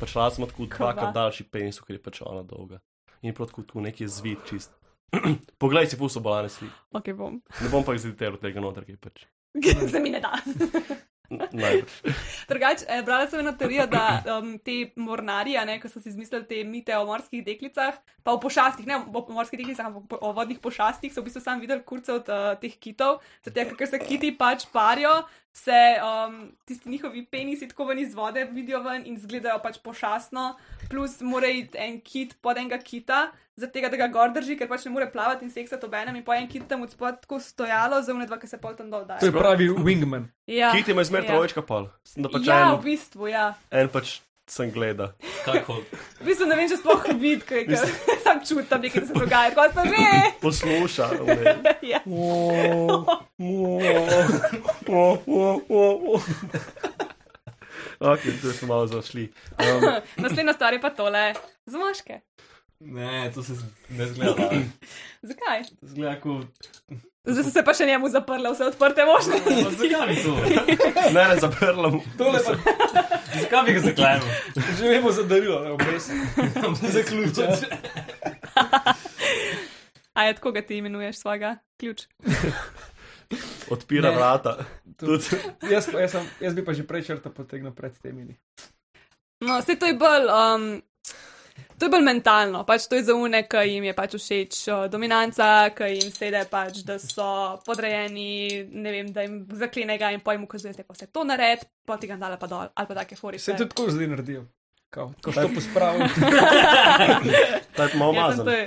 Pač raca ima tako Kava. dvakrat daljši penis, ker je pač ona dolga. In prav tako tu neki zvit čist. (clears throat) Poglej si fuso balane slik. Ok, bom. Ne bom pa izdelal tega noter, ki je pač. se mi ne da. N- Najbrž. Drugače, eh, brala sem eno teorijo, da um, te mornarji, a ne, ko so si izmislili te mite o morskih deklicah, pa o pošastih, ne o morskih deklicah, ampak po- o vodnih pošastih, so v bistvu sam videli kurce od uh, teh kitov, zato tega, ker se kiti pač parijo, se um, tisti njihovi penisi tako ven iz vode vidijo ven in izgledajo pač pošastno, plus mora iti en kit pod enega kita, zato tega, da ga gor drži, ker pač ne more plavati in seksati ob enem in po en kit tam od spod tako stojalo, za unedva, ki se pol tam dol To je dajo. pravi wingman. Ja, Kit ima zmer ja. trojčka pol. Sem Da pač Ja, v en, bistvu, ja. en pač sem gleda. Kako? V bistvu ne vem, če sploh vidim, kaj je. Sam čutim tam nekaj, kar se dogaja, kot pa že. Posluša. (laughs) Ja. Ok, tu smo malo zašli. Um, Naslednja stvar je pa tole, za moške. Ne, to se ne zgleda. Zakaj? Zgleda kot. Zdaj so se pa še njemu zaprle vse odprte (laughs) možnosti. Zakaj bi to? ne, ne zaprla mu. Tole pa Zakaj bi ga zaklenil? že vemo za darilo, ne obres. Za ključ. ja. A je tako, da ti imenuješ svojega ključ? Odpira Ne. vrata. Tudi. Jaz, pa- jaz, sem, jaz bi pa že prej črta potegnil pred temi. No, vse to je bolj. Um, To je bolj mentalno, pač to je za une, ki jim je pač všeč uh, dominanca, ki jim sede pač, da so podrejeni, ne vem, da jim zaklene ga in pojem ukazuje, da je pa vse to nared, pa ti ga dala pa dol, ali pa take Se forice. tudi tako zdaj naredijo. Kao, tako što pospravim. (laughs) Ta je malo Jaz Ja, sem mazan. to je.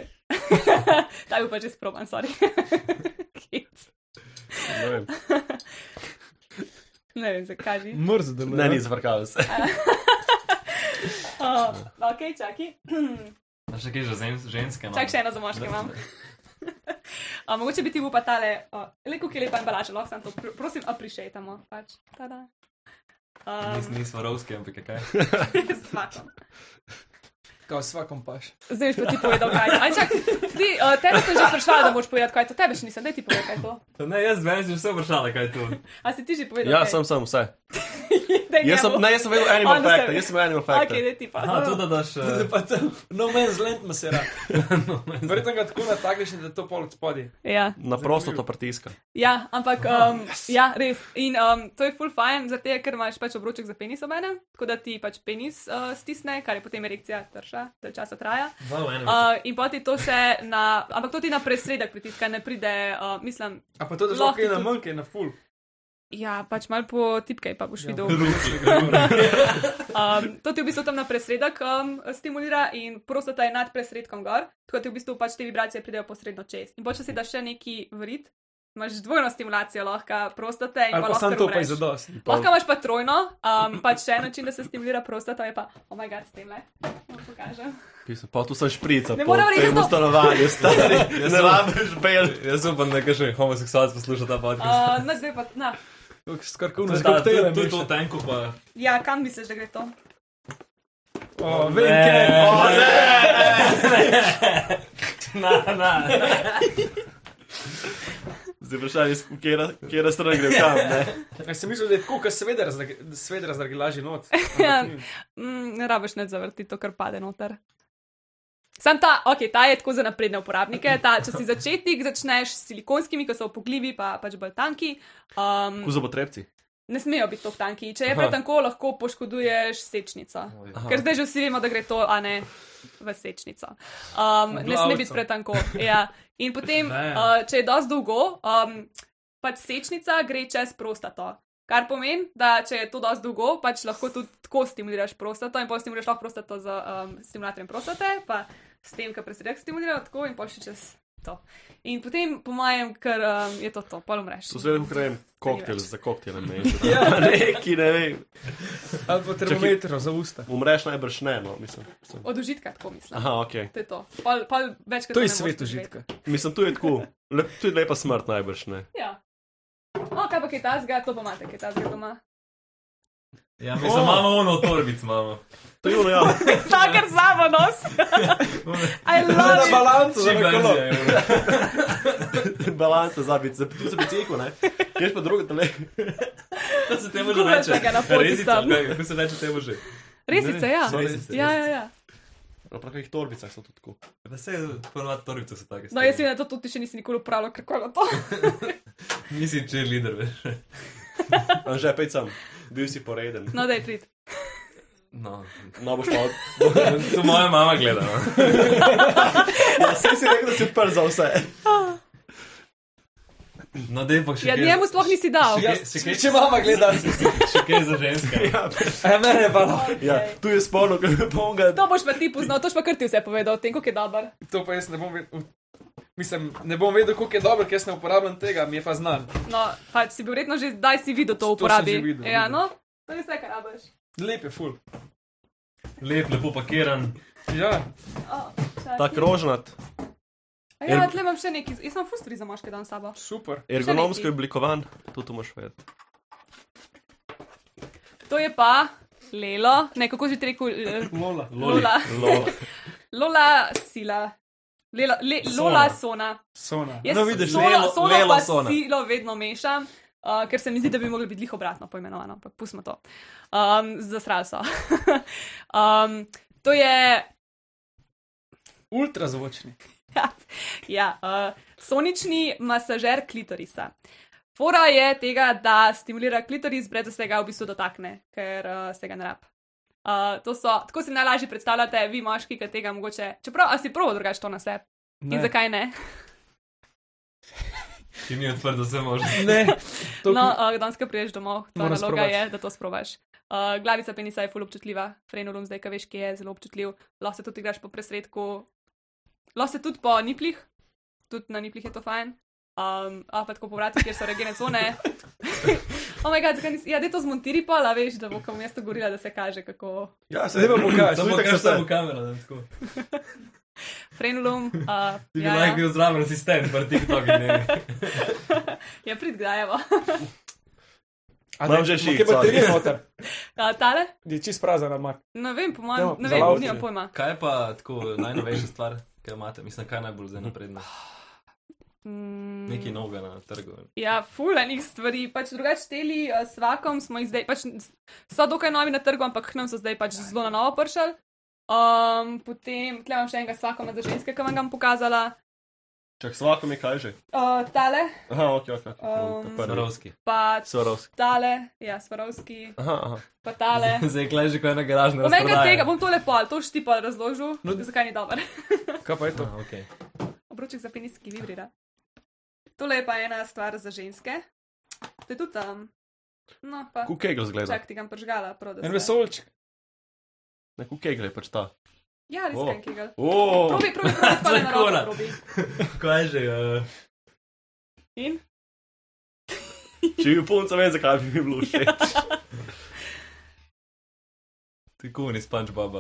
(laughs) Ta je bil pa že sproban, sorry. (laughs) Hec. Ne vem. ne vem, zakaj že. Mrz deluje. Ne, ni zvrkal se. Uh, ok, čakaj. (clears throat) A še kaj že zem- ženske? no? Čak še eno za moške imam. (laughs) A, mogoče bi ti bil pa tale, uh, le kako je lepa embalaža, lahko sem to, pr prosim, appreciatamo. Pač. Tada. Nis- Um, Nismo rovski, ampak je kaj. (laughs) svakom. Kao svakom paš. Zdaj boš pa ti povedal, kaj je. Aj, čak, ti, uh, tebe sem že sprašvala, da boš povedal, kaj je to. Tebe še nisem, daj ti povedal, kaj je to. Ne, jaz meni si že vse vprašala, kaj je to. A si ti že povedal? Ja, kaj? sem, sem vse. Daj Jaz sem, njemu. ne, jaz sem vedel On animal se- factor. Jaz sem animal Ok, factor. daj ti pa. Aha, to da daš. eh, Pa tam, no man's land masera. Verjetno ga tako natakneš, da je to pol od spodaj. Ja. Na prosto to pritiska. Ja, ampak um, ja, res. In um, to je full fajn, zato je, ker imaš pač obroček za penis obene, tako da ti pač penis uh, stisne, kar je potem erekcija trša, da časa traja. Dva v enem. Uh, in potem to še na, ampak to ti na presredek pritiska, ne pride, uh, mislim, A pa to daš Lahko ok tudi. na E, manjke, na full. ja, pač mal po tipkej, pa boš videl. (laughs) Ruki. Um, to ti v bistvu tam na presredek um, stimulira in prostata je nad presredkom gor, tako da ti v bistvu pač te vibracije pridejo posredno čez. In pač, če si daš še neki vrit, imaš dvojno stimulacijo lahko prostate in Ali pa lahko sam to pa je umreš. zadost. Lahko imaš pa trojno, um, pač še en način, da se stimulira prostata, je pa, oh moj bog, s tem le. Vam pokažem. Pisem, Pa tu sem šprica. Ne po morem reči, no. da tem to- stanovanju, (laughs) stari. Jaz Ne sem- rabiš bel. Jaz upam, da kakšen homoseksualc posluša ta podcast. Uh, no, zdaj pa, na. Skorkuno To je z ta- koktajlem. to je to tenko pa. Ja, kam misliš, da gre to? O, vem, kaj. O, ne! Na, na. Zdaj vprašanje, s- kje kjera stran gre kam, ne? (laughs) Jaz sem mislil, da je tako, kot sved razdragilaži not. Ja, mm, ne rabiš ne zavrti to, kar pade noter. Sam ta, ok, ta je tako za napredne uporabnike. Ta, če si začetnik, začneš s silikonskimi, ki so opogljivi, pa pač bolj tanki. Um, Kuzo potrebci. ne smejo biti tako tanki. Če je Aha. pretanko, lahko poškoduješ sečnico. Ker zdaj že vsi vemo, da gre to, a ne v sečnico. Um, ne sme Glavco. biti pretanko. Ja. In potem, Ne. uh, če je dosti dolgo, um, pač sečnica gre čez prostato. Kar pomeni, da če je to dosti dolgo, pač lahko tudi tako stimuliraš prostato in potem stimuliraš lahko prostato z um, stimulatorjem prostate, pa s tem, kar presredek stimulira, tako in pošli čez to. In potem, po mojem, ker um, je to to, pa umreš. So zelo ukrejem koktajl koktel za (laughs) za koktelem. Ja, neki, ne vem. Ali pa termometro za usta. Umreš najbrž ne, no, mislim. mislim. Od užitka, tako mislim. Aha, ok. To je to. Pol, pol večkrat To je ne moreš svet doživeti. užitka. Mislim, tu je tako. Lep, tu je lepa smrt najbrž ne. Ja. O, kaj pa kaj tasga, to pa imate, kaj tasga doma. Ja, mi smo O! malo ono torbic, imamo. To je ono, (laughs) ja. Vsakar zavo nos. (laughs) I Na love it. balancu za Čim kolo. verzija je ono. Balansa za biti, za biti, za biti eko, ne. Ješ pa drugo tele. To se temu že Zgubila reče. sem ga na poti Rezica, tam. kaj, Kako se reče temu že? Resice, ja. Ne, resice, Ja, ja, ja. Na pravih torbicah so to tako. Pa se je ponovadi torbice so take. No, jaz sem na to tudi še nisi nikoli upravljal, kako je to. Nisi cheerleader, veš. Anže, pej sam, bil si poreden. No, daj prid. No. No, boš pa od... To moja mama gleda. No. Ja, saj si rekel, da si prl za vse. No, dej pa še Ja, kaj. njemu sploh nisi dal. Še Ja, kaj- še kaj- Če mama gleda, Še kaj za ženske. a mene je bala. Ja, Okay. tu je spolno, kaj je ponga. To boš pa ti poznal, to boš pa kar ti vse povedal o tem, kako je dober. To pa jaz ne bom vedel. Mislim, ne bom vedel, koliko je dobro, ker jaz ne uporabljam tega, mi je pa znan. No, pač si bil verjetno že, daj si videl to v To sem že uporabi. videl, ja, videl. no, to je vse, kar rabiš. Lep je, ful. Lep, lepo pakiran. Ja, O, čakaj. Ta krožnat, A Ja, tle imam še nekaj, jaz sem fustri za moške dan s sabo. super. ergonomsko je oblikovan, to tu moš vedeti. To je pa Lelo, ne kako že ti rekel, eh, Lola. Lola. Lol. (laughs) Lola sila. Lela, le, Lola sona. Sona. Jaz No, vidiš, sono, Lelo- sono Lelo pa Sona. silo vedno mešam, uh, ker se mi zdi, da bi mogli biti lih obratno poimenovano, ampak pustimo to. Um, Zasral so. (laughs) um, to je Ultrazvočni. (laughs) ja, uh, sonični masažer klitorisa. Fora je tega, da stimulira klitoris, brez da se ga v bistvu dotakne, ker uh, se ga ne rab. Uh, to so, tako si najlažje predstavljate, vi moški, ki tega mogoče, čeprav a si prvo drugače to na sebe. In Ne. zakaj ne? Ti mi je odprto vse možnosti. ne. To, (laughs) No, uh, danes, ko priješ domov, tvoja Moram naloga sprobati. je, da to sprobaš. Uh, glavica penisa je ful občutljiva, frenulum zdaj, ki veš, ki je zelo občutljiv. Lahko se tudi igraš po presredku, lahko se tudi po niplih, tudi na niplih je to fajn. Um, a pa tako povratno, kjer so regene cone. oh moj bog, zakaj nisi? Ja, da to zmontiri pa, la veš, da bo kam mesto gorila, da se kaže, kako Ja, Zdaj pa pokaži. Samo Samo tako kar se samo kamero, da tako. frenulum. Uh, Ti bi ja, lahko ja. bil zraven asistent, pa TikTok ne. ja, prid (laughs) grajeva. Imam že Kaj šiht, pa ti sorry. je noter? Uh, tale? Je čist prazen, ampak. Ne vem, po mojem, Dajmo, ne vem, zalaufaj. nimam pojma. Kaj pa tako najnovejša stvar, ki jo imate? Mislim, kaj je najbolj zdaj napredna? Mm. Nekaj novega na trgu. Ja, fulanih stvari. Pač drugače teli eh, s vakom smo jih zdaj, pač so dokaj novi na trgu, ampak k nam so zdaj pač zelo na novo pršali. Um, potem tle imam še enega svakoma za ženske, ki vam ga bom pokazala. Čak, svako mi kaj že. Uh, tale, Aha, ok, ok. Um, Um, Snorovski. pa Sorovski. tale, ja, svarovski, Aha, aha. pa tale. (laughs) Zdaj klej že kot ena garažna Bom enkrat tega, razprava. bom tole pol, to štipa razložil, No, no, zakaj ni dober. (laughs) Kaj pa je to? Okay. Obroček za penis, ki vibrira. Tole je pa ena stvar za ženske. To je tudi tam. No, pa Kukegel zgleda. čak, ti ga bom pržgala, prodaja. En vesolček. Ne, kukegel je pač ta. Ja, res O. je, ki ga. Oh, Probi, probi, probi, tole na roko Zakona. probi. Kaj že? Uh, In? če bi bil punca, vem, zakaj bi mi bilo všeč. tako ni SpongeBob.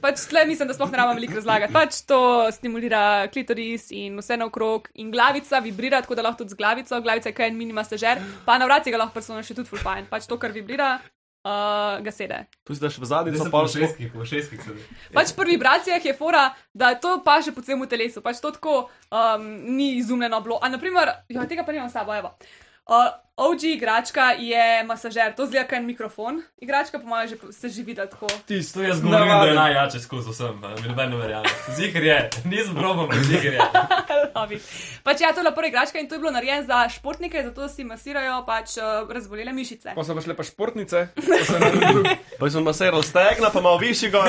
Pač tle mislim, da sploh ne rabim veliko razlagati. Pač to stimulira klitoris in vse naokrog, in glavica vibrira, tako da lahko tudi z glavico, glavica je kaj en mini masažer, pa na vrat si ga lahko personalno še tudi fulfajn. Pač to, kar vibrira, uh, ga sede. Tu si daš v zadnjico, Nisem pa pa v še. šestkih, v šestkih sem. Pač pri vibracijah je fora, da to paše po celem telesu, pač to tako um, ni izumljeno bilo. A naprimer, jo, tega pa nimam s sabo, evo. Uh, OG igračka je masažer, to zgleda kot en mikrofon. Igračka, po mojem, že po- se že vidi tako. To Tisto jaz govorim, da je najjače skozi vsem, a mi noben ne verjame. Zikr je, nisem probal, ampak zikr je. Lovi. pač ja, to je bila prva igračka in to je bilo narejeno za športnike, zato da si masirajo pač eh, razbolele mišice. Pa so pa šle pa športnice. pa so naredili- Pa sem masiral stegna, pa malo višji gor.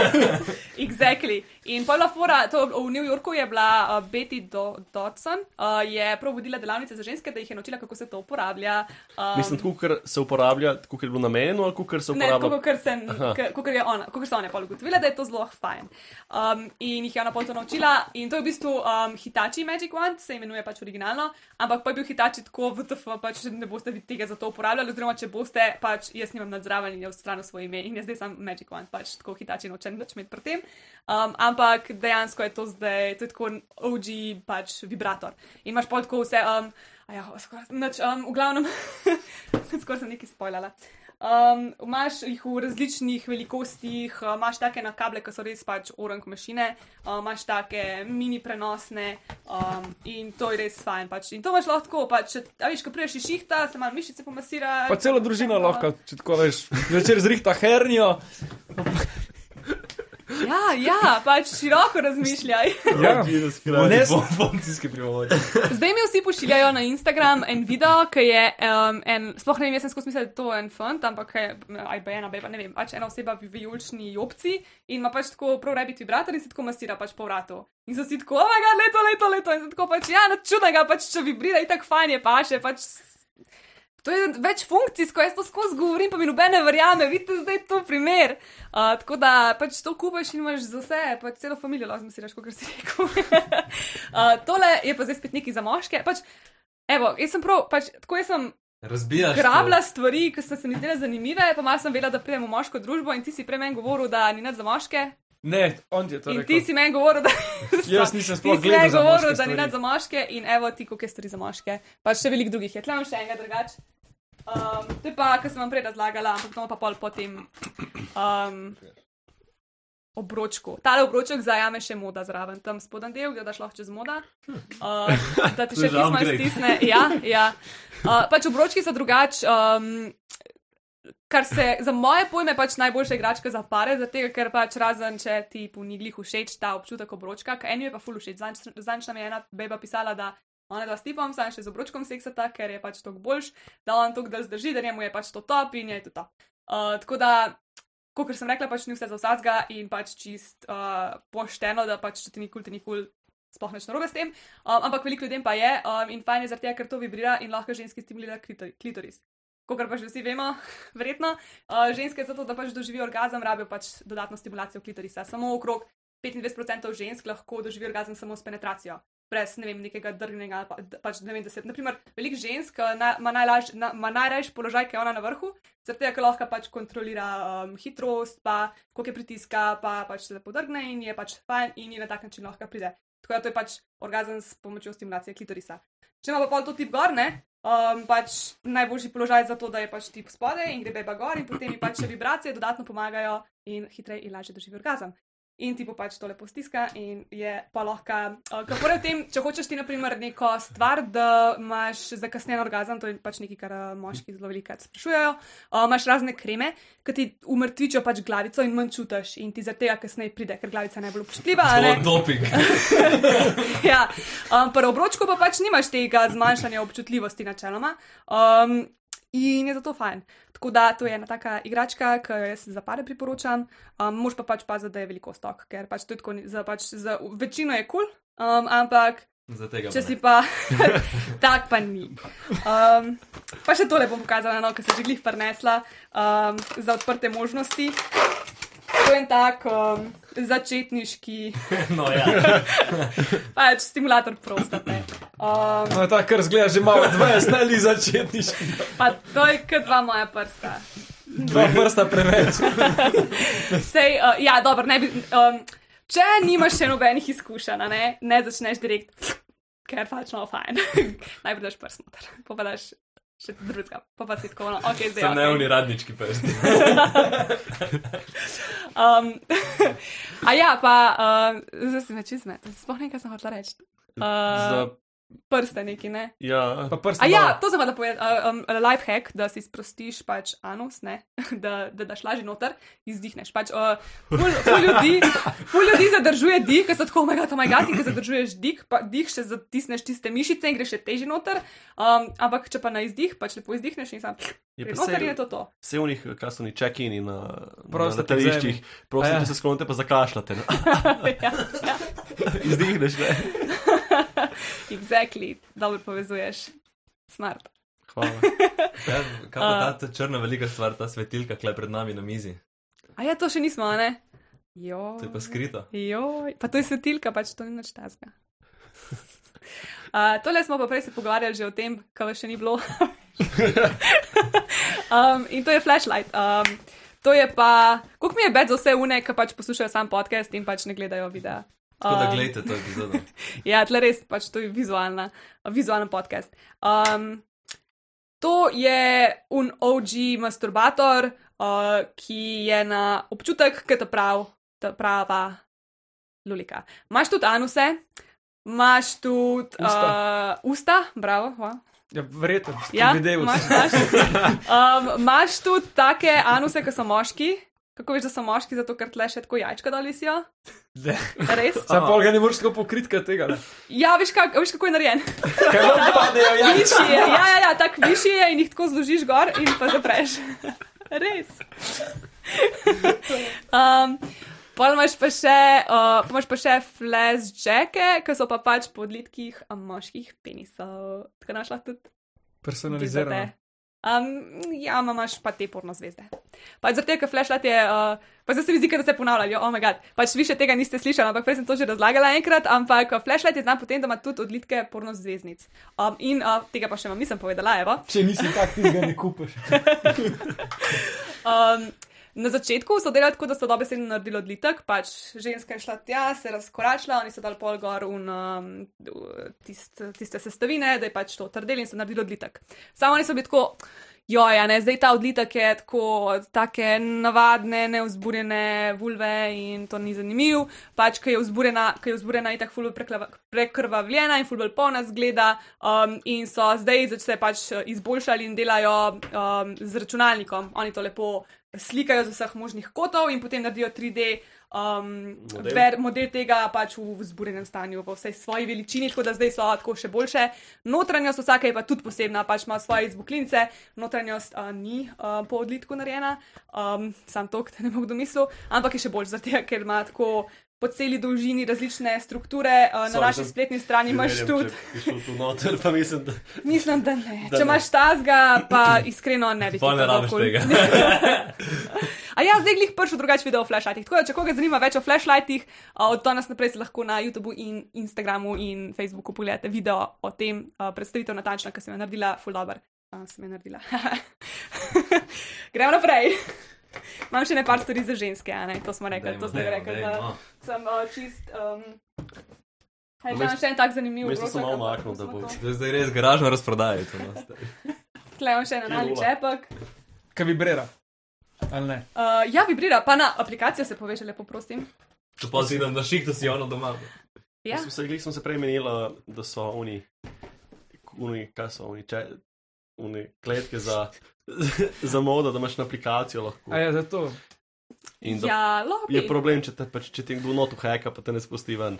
Exactly. In Paula Fora, to v New Yorku je eh, bila uh, Betty Do Dodson, uh, je prav vodila delavnice za ženske, da jih je naučila, kako se to uporablja. Um, Mislim, tako ker se uporablja, tako ker je bilo namenjeno, ali ker se Ne, uporablja. tako kot sem, Aha. kot je ona, kot so one pol ugotovile, da je to zelo fajn. Um, in jih je ona pol to naučila in to je v bistvu um, Hitachi Magic Wand, se imenuje pač originalno, ampak pa je bil Hitachi tako, VTF, pač ne boste vi tega za to uporabljali, oziroma če boste, pač jaz nimam nadzraven in je v stranu svoje ime in je zdaj sam Magic Wand, pač tako Hitachi nočem nič imeti pri tem. Um, ampak dejansko je to zdaj, to je tako OG pač vibrator. In imaš pol tako vse, um, a ja, skoraj, nič, um, v glavnem, (laughs) skoraj sem nekaj spoilala. Um, imaš jih v različnih velikostih, uh, imaš take na kable, ki so res pač orang mašine, uh, imaš take mini prenosne um, in to je res fajn. Pač. In to imaš lahko, pač, če- a veš, ko priješ iz šihta, se malo mišice pomasira. Pa celo družina tako, lahko, če tako veš, večer zrihta hernjo. Ja, ja, pač široko razmišljaj. Ja. Jezus Ne- Krist, bomboncijski privodki. Zdaj mi vsi pošiljajo na Instagram en video, ki je um, en, sploh ne vem, jaz sem skozi mislil, da je to en fant, ampak je, aj pa ena, beba, ne vem, pač ena oseba v vijolični jopci in ima pač tako prav rebit vibrator in se tako masira pač po vratu. In so si tako, oh, ga, leto, leto, leto, in so tako pač, ja, nič čudnega, pač če vibrira, itak fajn je paše, pač. To je več funkcijsko, jaz to skozi govorim, pa mi nobene verjame, vidite, zdaj je to primer. Uh, tako da pač to kupaš in imaš za vse, pač celo familijo lahko zmisliš, kot si rekel. (laughs) Uh, tole je pa zdaj spet nekaj za moške. Pač, evo, jaz sem prav, pač, tako jaz sem Razbijaš. to. grabila stvari, ki so se mi zdele zanimive, pa malo sem vedela, da pridem v moško družbo in ti si prej meni govoril, da ni nad za moške. Ne, on ti je to Torej In rekel. ti si meni govoril, da. Jaz nisem Ti sploh si meni gledal za govoril, moške da ni stvari. nad za moške in evo ti, koliko je stvari za moške. Pač še veliko drugih je. Tlem še enega drugač. Um, to je pa, kar sem vam prej razlagala, ampak to bomo pa pol potem. Um, Obročku. Tale obroček zajame še moda zraven, tam spodaj del, ga daš lahko čez moda. Uh, da ti To še je že pismo upgrade. stisne. Ja, ja. Uh, pač obročki so drugačni. Um, kar se za moje pojme pač najboljša igračka za pare, zaradi tega, ker pač razen če ti po niglih všeč ta občutek obročka, ker eni je pa ful všeč. Zanč- Zanč nam je ena beba pisala, da ona dva s tipom, sam še z obročkom seksata, ker je pač toliko boljš, da on toliko da zdrži, da njemu je pač to top in je to top. Uh, tako da, kot sem rekla, pač ni vse za vsadzga in pač čist uh, pošteno, da pač če ti nikoli, ti nikoli sploh nič narobe s tem. Um, ampak veliko ljudem pa je um, in fajn je zaradi tega, ker to vibrira in lahko ženski stimulira klitor- klitoris. Kot pa že vsi vemo, verjetno, uh, ženske zato, da pač doživijo orgazem, rabijo pač dodatno stimulacijo klitorisa. Samo okrog 25% žensk lahko doživi orgazem samo s penetracijo. Brez ne vem, nekega drgnega, ali pa, d- pač ne vem, deset. Naprimer, veliko žensk eh, na- ima najlaž- na- ima najrajši položaj, ki je ona na vrhu, zaradi tega, ker lahko pač kontrolira um, hitrost, pa koliko je pritiska, pa pač se lepo drgne in je pač fajn in ji na tak način lahko pride. Tako da to je pač orgazem s pomočjo stimulacije klitorisa. Če ima pa pol to tip gor, ne, um, pač najboljši položaj za to, da je pač tip spodaj in gre beba gor in potem ji pač še vibracije dodatno pomagajo in hitreje in lažje doživi orgazem. In ti pa pač to lepo stiska in je pa lahko, uh, kako je v tem, če hočeš ti naprimer neko stvar, da imaš zakasnjen orgazem, to je pač nekaj, kar eh, moški zelo velikokrat sprašujejo, uh, imaš razne kreme, ki ti umrtvičijo pač glavico in manj čutiš in ti zaradi tega kasneje pride, ker glavica je najbolj občutljiva. a ne? To doping. (laughs) ja. um, pri obročku pa pač nimaš tega zmanjšanja občutljivosti, načeloma. Um, in je zato fajn. Tako da to je ena taka igračka, ki jo jaz za pare priporočam. Um, mož pa pač paziti, da je veliko stok, ker pač to je tako, ni- za, pač, za večino je kul, cool, um, ampak Za tega. če pa si ne. pa (laughs) tak, pa ni. Um, pa še tole bom pokazala, no, ker sem že glih prenesla um, za odprte možnosti. To je en tak um, začetniški (laughs) No, ja. (laughs) pač stimulator prostate. Um, No, ta kar zgleda že malo 20 ali začetniški. pa to je kot dva moja prsta. Dva prsta preveč. Sej, uh, ja, dobro, ne bi. Um, če nimaš še nobenih izkušenj, a ne, ne začneš direkt, ker pač no, fajn. (laughs) Najprej daš prst noter, pa pa daš še drugega, pa pa si tako, no, ok, zdaj. Sem okej. neumni radnički prst. (laughs) Um, (laughs) a ja, pa, um, zdaj si me čez med, spomnim, kaj sem hotel reči. Za, Uh, prste neki, ne? ja, Pa prsta. A ja, to sem pa da povedal. Uh, um, life hack, da si sprostiš pač anus, ne, (laughs) da, da daš lažje noter, izdihneš. Pač, uh, ful, ful, (laughs) ljudi, ful ljudi zadržuje dih, ker so tako "Oh omegati, omegati, ker zadržuješ dih, pa dih še zatisneš tiste mišice in greš še težje noter. Um, ampak če pa na izdih, pač lepo izdihneš in sam je greš pa noter in vse, je to (laughs) to. vse v njih, kaj so oni check-ini na, na Prosto letališčih, prosim, A ja. če se sklonite, pa zakašljate. ne. ja, ja. (laughs) (laughs) Izdihneš, ne? Exactly, dobro povezuješ. Smart. Hvala. Kaj, kaj pa ta, ta črna velika stvar, ta svetilka, ki je pred nami na mizi? A ja, to še nismo, a ne? Jo. To je pa skrito. Joj, pa to je svetilka, pač to ni nič tazga. Uh, tole smo pa prej se pogovarjali že o tem, kaj vas še ni bilo. um, in to je flashlight. Um, to je pa, koliko mi je bed za vse une, ki pač poslušajo sam podcast in pač ne gledajo videa. Tako da Um, gledajte to epizodo. (laughs) Ja, tle res, pač to je vizualna, vizualen podcast. Um, to je un OG masturbator, uh, ki je na občutek, ki ta prav, ta prava lulika. Imaš tudi anuse, imaš tudi Usta. uh, usta bravo. Wow. Ja, verjetno, Ja, ja, videl imaš, sem. imaš, um, imaš tudi take anuse, ki so moški. Kako veš, da so moški, zato ker tle še tako jajčka dolisijo? Ne. Res? Sam pol ga ne moreš tako pokritka tega. ne. Ja, veš, kak, veš kako je narejen. Kaj vam padejo, ja? Višji je, ja, ja, ja tako višji je in jih tako zložiš gor in pa zapreš. (laughs) Res. (laughs) um, Pol imaš pa še, uh, pol imaš pa še flashjacke, ki so pa pač po odlitkih moških penisov. Tako da imaš lahko tudi Personalizirano. Gibate. Um, ja, ma imaš pa te porno zvezde. Pa zaradi tega, ker flashlight je, uh, pa zdaj se mi zdi, kot da se ponavljajo, oh moj bog, pač vi še tega niste slišali, ampak prej sem to že razlagala enkrat, ampak uh, flashlight je znan potem, da ima tudi odlitke porno zvezdnic. Um, in uh, tega pa še vam nisem povedala, evo. Če nisi tak, ti ga ne kupiš. (laughs) Um, na začetku so delali tako, da so dobesedno naredili odlitek, pač ženska je šla tja, se razkoračila, oni so dali pol gor un, um, tist, tiste sestavine, da je pač to trdeli in so naredili odlitek. Samo oni so bili tako. Joja, ne, zdaj ta odlitek je tako, take navadne, neuzburjene vulve in to ni zanimiv, pač, ki je vzburjena, ki je vzburjena in tako fulbol prekrvavljena in fulbol polna zgleda um, in so zdaj zač- se pač izboljšali in delajo um, z računalnikom. Oni to lepo slikajo z vseh možnih kotov in potem naredijo 3D um, Model. ver, model tega pač v vzburjenem stanju, v vsej svoji veličini, tako da zdaj so tako še boljše. Notranjost vsake je pa tudi posebna, pač ima svoje izbuklince, notranjost a, ni a, po odlitku narejena, um, sam to, da ne bom domislil, ampak je še boljš zaradi tega, ker ima tako. Po celi dolžini različne strukture, a, na Sorry, naši sem spletni strani imaš tudi. Če šel tu noter, pa mislim, da Mislim, da ne. Da Če ne. imaš tazga, (clears throat) pa iskreno ne bi Pol ti to ne rabiš dokoli- tega. (laughs) A ja, zdaj glih prvič drugače video o flashlightih. Tako da, če koga zanima več o flashlightih, a, od danes naprej si lahko na YouTubu in Instagramu in Facebooku pogledate video o tem, a, predstavitev natančno, ki sem jo naredila, full dobr. A, sem jo naredila. (laughs) Gremo naprej. Imam še nekaj stvari za ženske, a ne? to smo rekli, to ste rekli. da Sem a, čist. Um, Aj, imam Vmes- še en tak zanimiv. vmes sem obroček, malo ampak umaknil, da smo bo- to- To je zdaj res garažno no, razprodajati. Tle imam še en anali Pirula. čepek. Kaj vibrira? Ali ne? Uh, ja, vibrira, pa na aplikacijo se poveže, lepo prosim. Če pa si tam na ših, da si ono doma. Ja, Jaz sem se, glih sem se prej menila, da so oni, oni kaj so oni, če, oni kletke za, (laughs) za modo, da imaš na aplikacijo lahko. A ja, zato. In da ja lobi. je problem, če te, pač- če ti kdo notu heka, pa te ne spusti ven.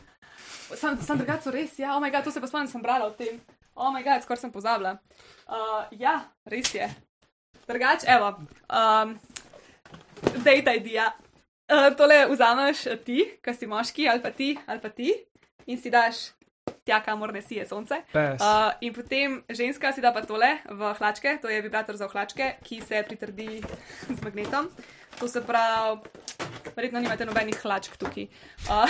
Sam, sam drugače so res, ja, omega, oh my God, to se pa spomnim, sem brala o tem. Omega, oh skoraj sem pozabila. Uh, ja, res je. Drugač, evo, um, dejta idija. Uh, tole vzameš ti, ki si moški, ali pa ti, ali pa ti, in si daš tja, kamor ne sije sonce. Pes. Uh, in potem ženska si da pa tole v hlačke, to je vibrator za hlačke, ki se pritrdi z magnetom. To se pravi, verjetno nimate nobenih hlačk tukaj. Uh,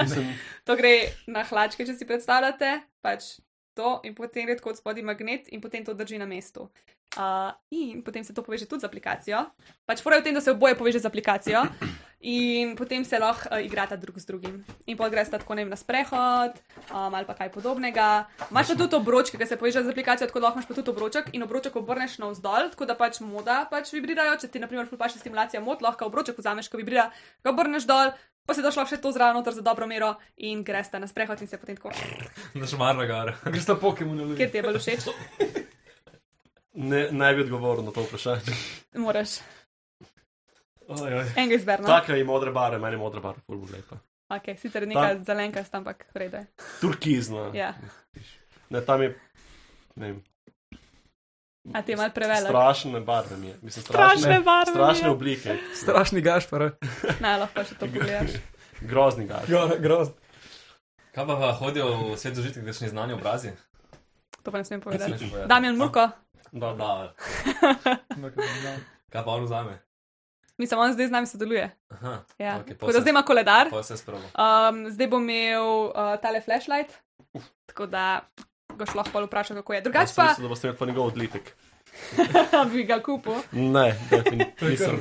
Mislim, (laughs) to gre na hlačke, če si predstavljate, pač to in potem gre tako od spodaj magnet in potem to drži na mestu. Uh, in potem se to poveže tudi z aplikacijo. Pač fora je v tem, da se oboje poveže z aplikacijo (clears throat) in potem se lahko uh, igrata drug z drugim. In pa greš tako ne vem na sprehod um, ali pa kaj podobnega. Imaš pa tudi obročke, ki se povežejo z aplikacijo, tako da lahko imaš pa tudi obroček in obroček obrneš navzdol, tako da pač moda pač vibrirajo. Če ti naprimer ful paše stimulacija mod, lahko obroček vzameš, ko vibrira, ga obrneš dol, pa se došlo še to zraven noter za dobro mero in greš na sprehod in se potem tako, Na šmarno (laughs) gor. Greš na Pokemon ali kjer ti je bolj všeč, ne, ne bi odgovoril na to vprašanje. (laughs) moraš Ojoj. enega izberno. Taka je modra barva, meni je modra barva, ful bo lepa. Okay, sicer neka zelenka, sta, ampak vrede. Turkizna. Ja. Ne, tam je, ne vem. A ti je malo prevelik? Strašne barve mi je. Mislim, strašne, Strašne barve. strašne oblike. Strašni gašpar. Naj lahko še to pogledaš. Grozni gar. Grozno. Kaj eh, pa, pa hodijo v svet užitek, da še ne znani obrazi? To pa ne smem Kaj si povedati. hočeš povedati? Damjan Murko, Da, (laughs) da. Kaj pa on vzame? Mi samo on zdaj z nami sodeluje. Aha, Ja. Ok, Okay, pol Tako da se- zdaj ima koledar, pa se spravo. um, zdaj bo imel uh, tale flashlight, tako da ga še lahko pol vpraša, kako je. Drugače Sem pa mislil, da boste imeli pa njegov odlitek. (laughs) bi ga kupil. Ne, definitivno nisem.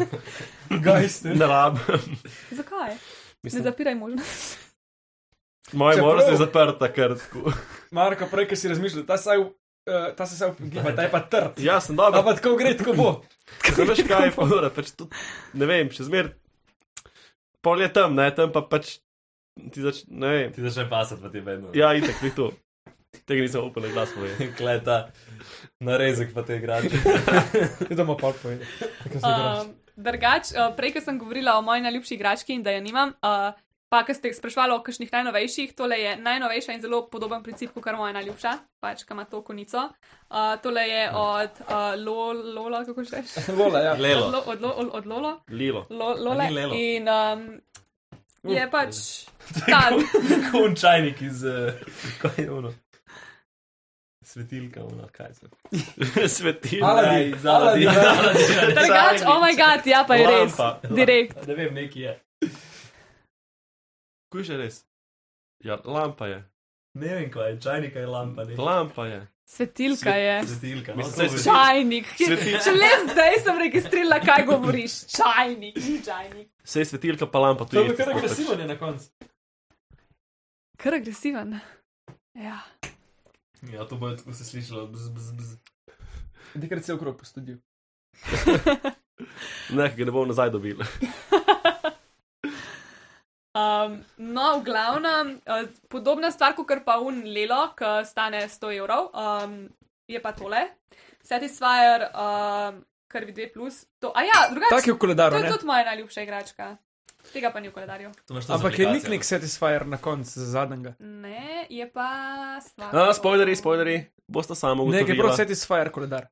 Guys, ne. Ne rabim. Zakaj? Ne Mislim, zapiraj možnosti. Moje Čeprav- možnost je zaprta, ker tako. Marko, prej, ki si razmišljal, ta, saj, uh, ta se saj giba, ta je pa trd. Ja, sem dober. Ampak tako gre, tako bo. Zdaj veš, kaj je fora, pač tudi, ne vem, še zmer, pol je tam, ne, tam pa pač ti zač, ne vem. Ti začne pasati, pa ti vedno. Ja, itek, ni to. Tega nisem upal na glas povedati. (laughs) Kleta, narezek pa te (laughs) igrače. Ti doma pa povedi. Um, Drugač, uh, prej, ko sem govorila o moji najljubši igrački in da je nimam, uh, pa ker ste sprašvali o kakšnih najnovejših, tole je najnovejša in zelo podoben princip, kot moja najljubša, pač, ki ima to konico. Uh, tole je Ja. od uh, Lo- Lola, kako že rečeš? Vola, ja. Od, Lelo. Lo- od, Lo- od, od Lolo. Lilo. Lo, A Lole. ni Lelo? Uh, In um, je pač (laughs) ta. Končajnik iz. eh, Kaj je ono? Svetilka, ono, kaj se. Svetil. Aj, Aladi, Aladi, Aladi. Aladi. Drugač, oh my god, ja pa je res. Lampa. Direkt. Ne vem, neki je. Kuj že res? Ja, lampa je. Ne vem, kaj je, čajnika je lampa. nekaj. Lampa je. Svetilka je. Svetilka. no, Mislim, to saj bo- Čajnik. Svetil- Šele zdaj sem registrirala, kaj govoriš. Čajnik, ni čajnik. Sej svetilka pa lampa To tudi. je bilo kar agresivno pač- je na koncu. Kar agresiven. Ja. Ja, to bo tako se slišalo. Bz, bz, bz. Dekrat se je okrog postudil. Ne, ki ga ne bom nazaj dobil. Um, no, v glavnem, uh, podobna stvar, kot kar pa un lelo, ki stane 100 evrov, um, je pa tole. Satisfyer, um, kar vidi 2. Plus, to, a ja, Tak je drugače. v koledaru, To je ne? tudi moja najljubša igračka. Tega pa ni v koledarju. To imaš to za Ampak je aplikacijo. niknik satisfier na koncu za zadnjega. Ne, je pa stvar. A, spoileri, spoileri. Boste samo Ne, je ugotovili. prav satisfier koledar.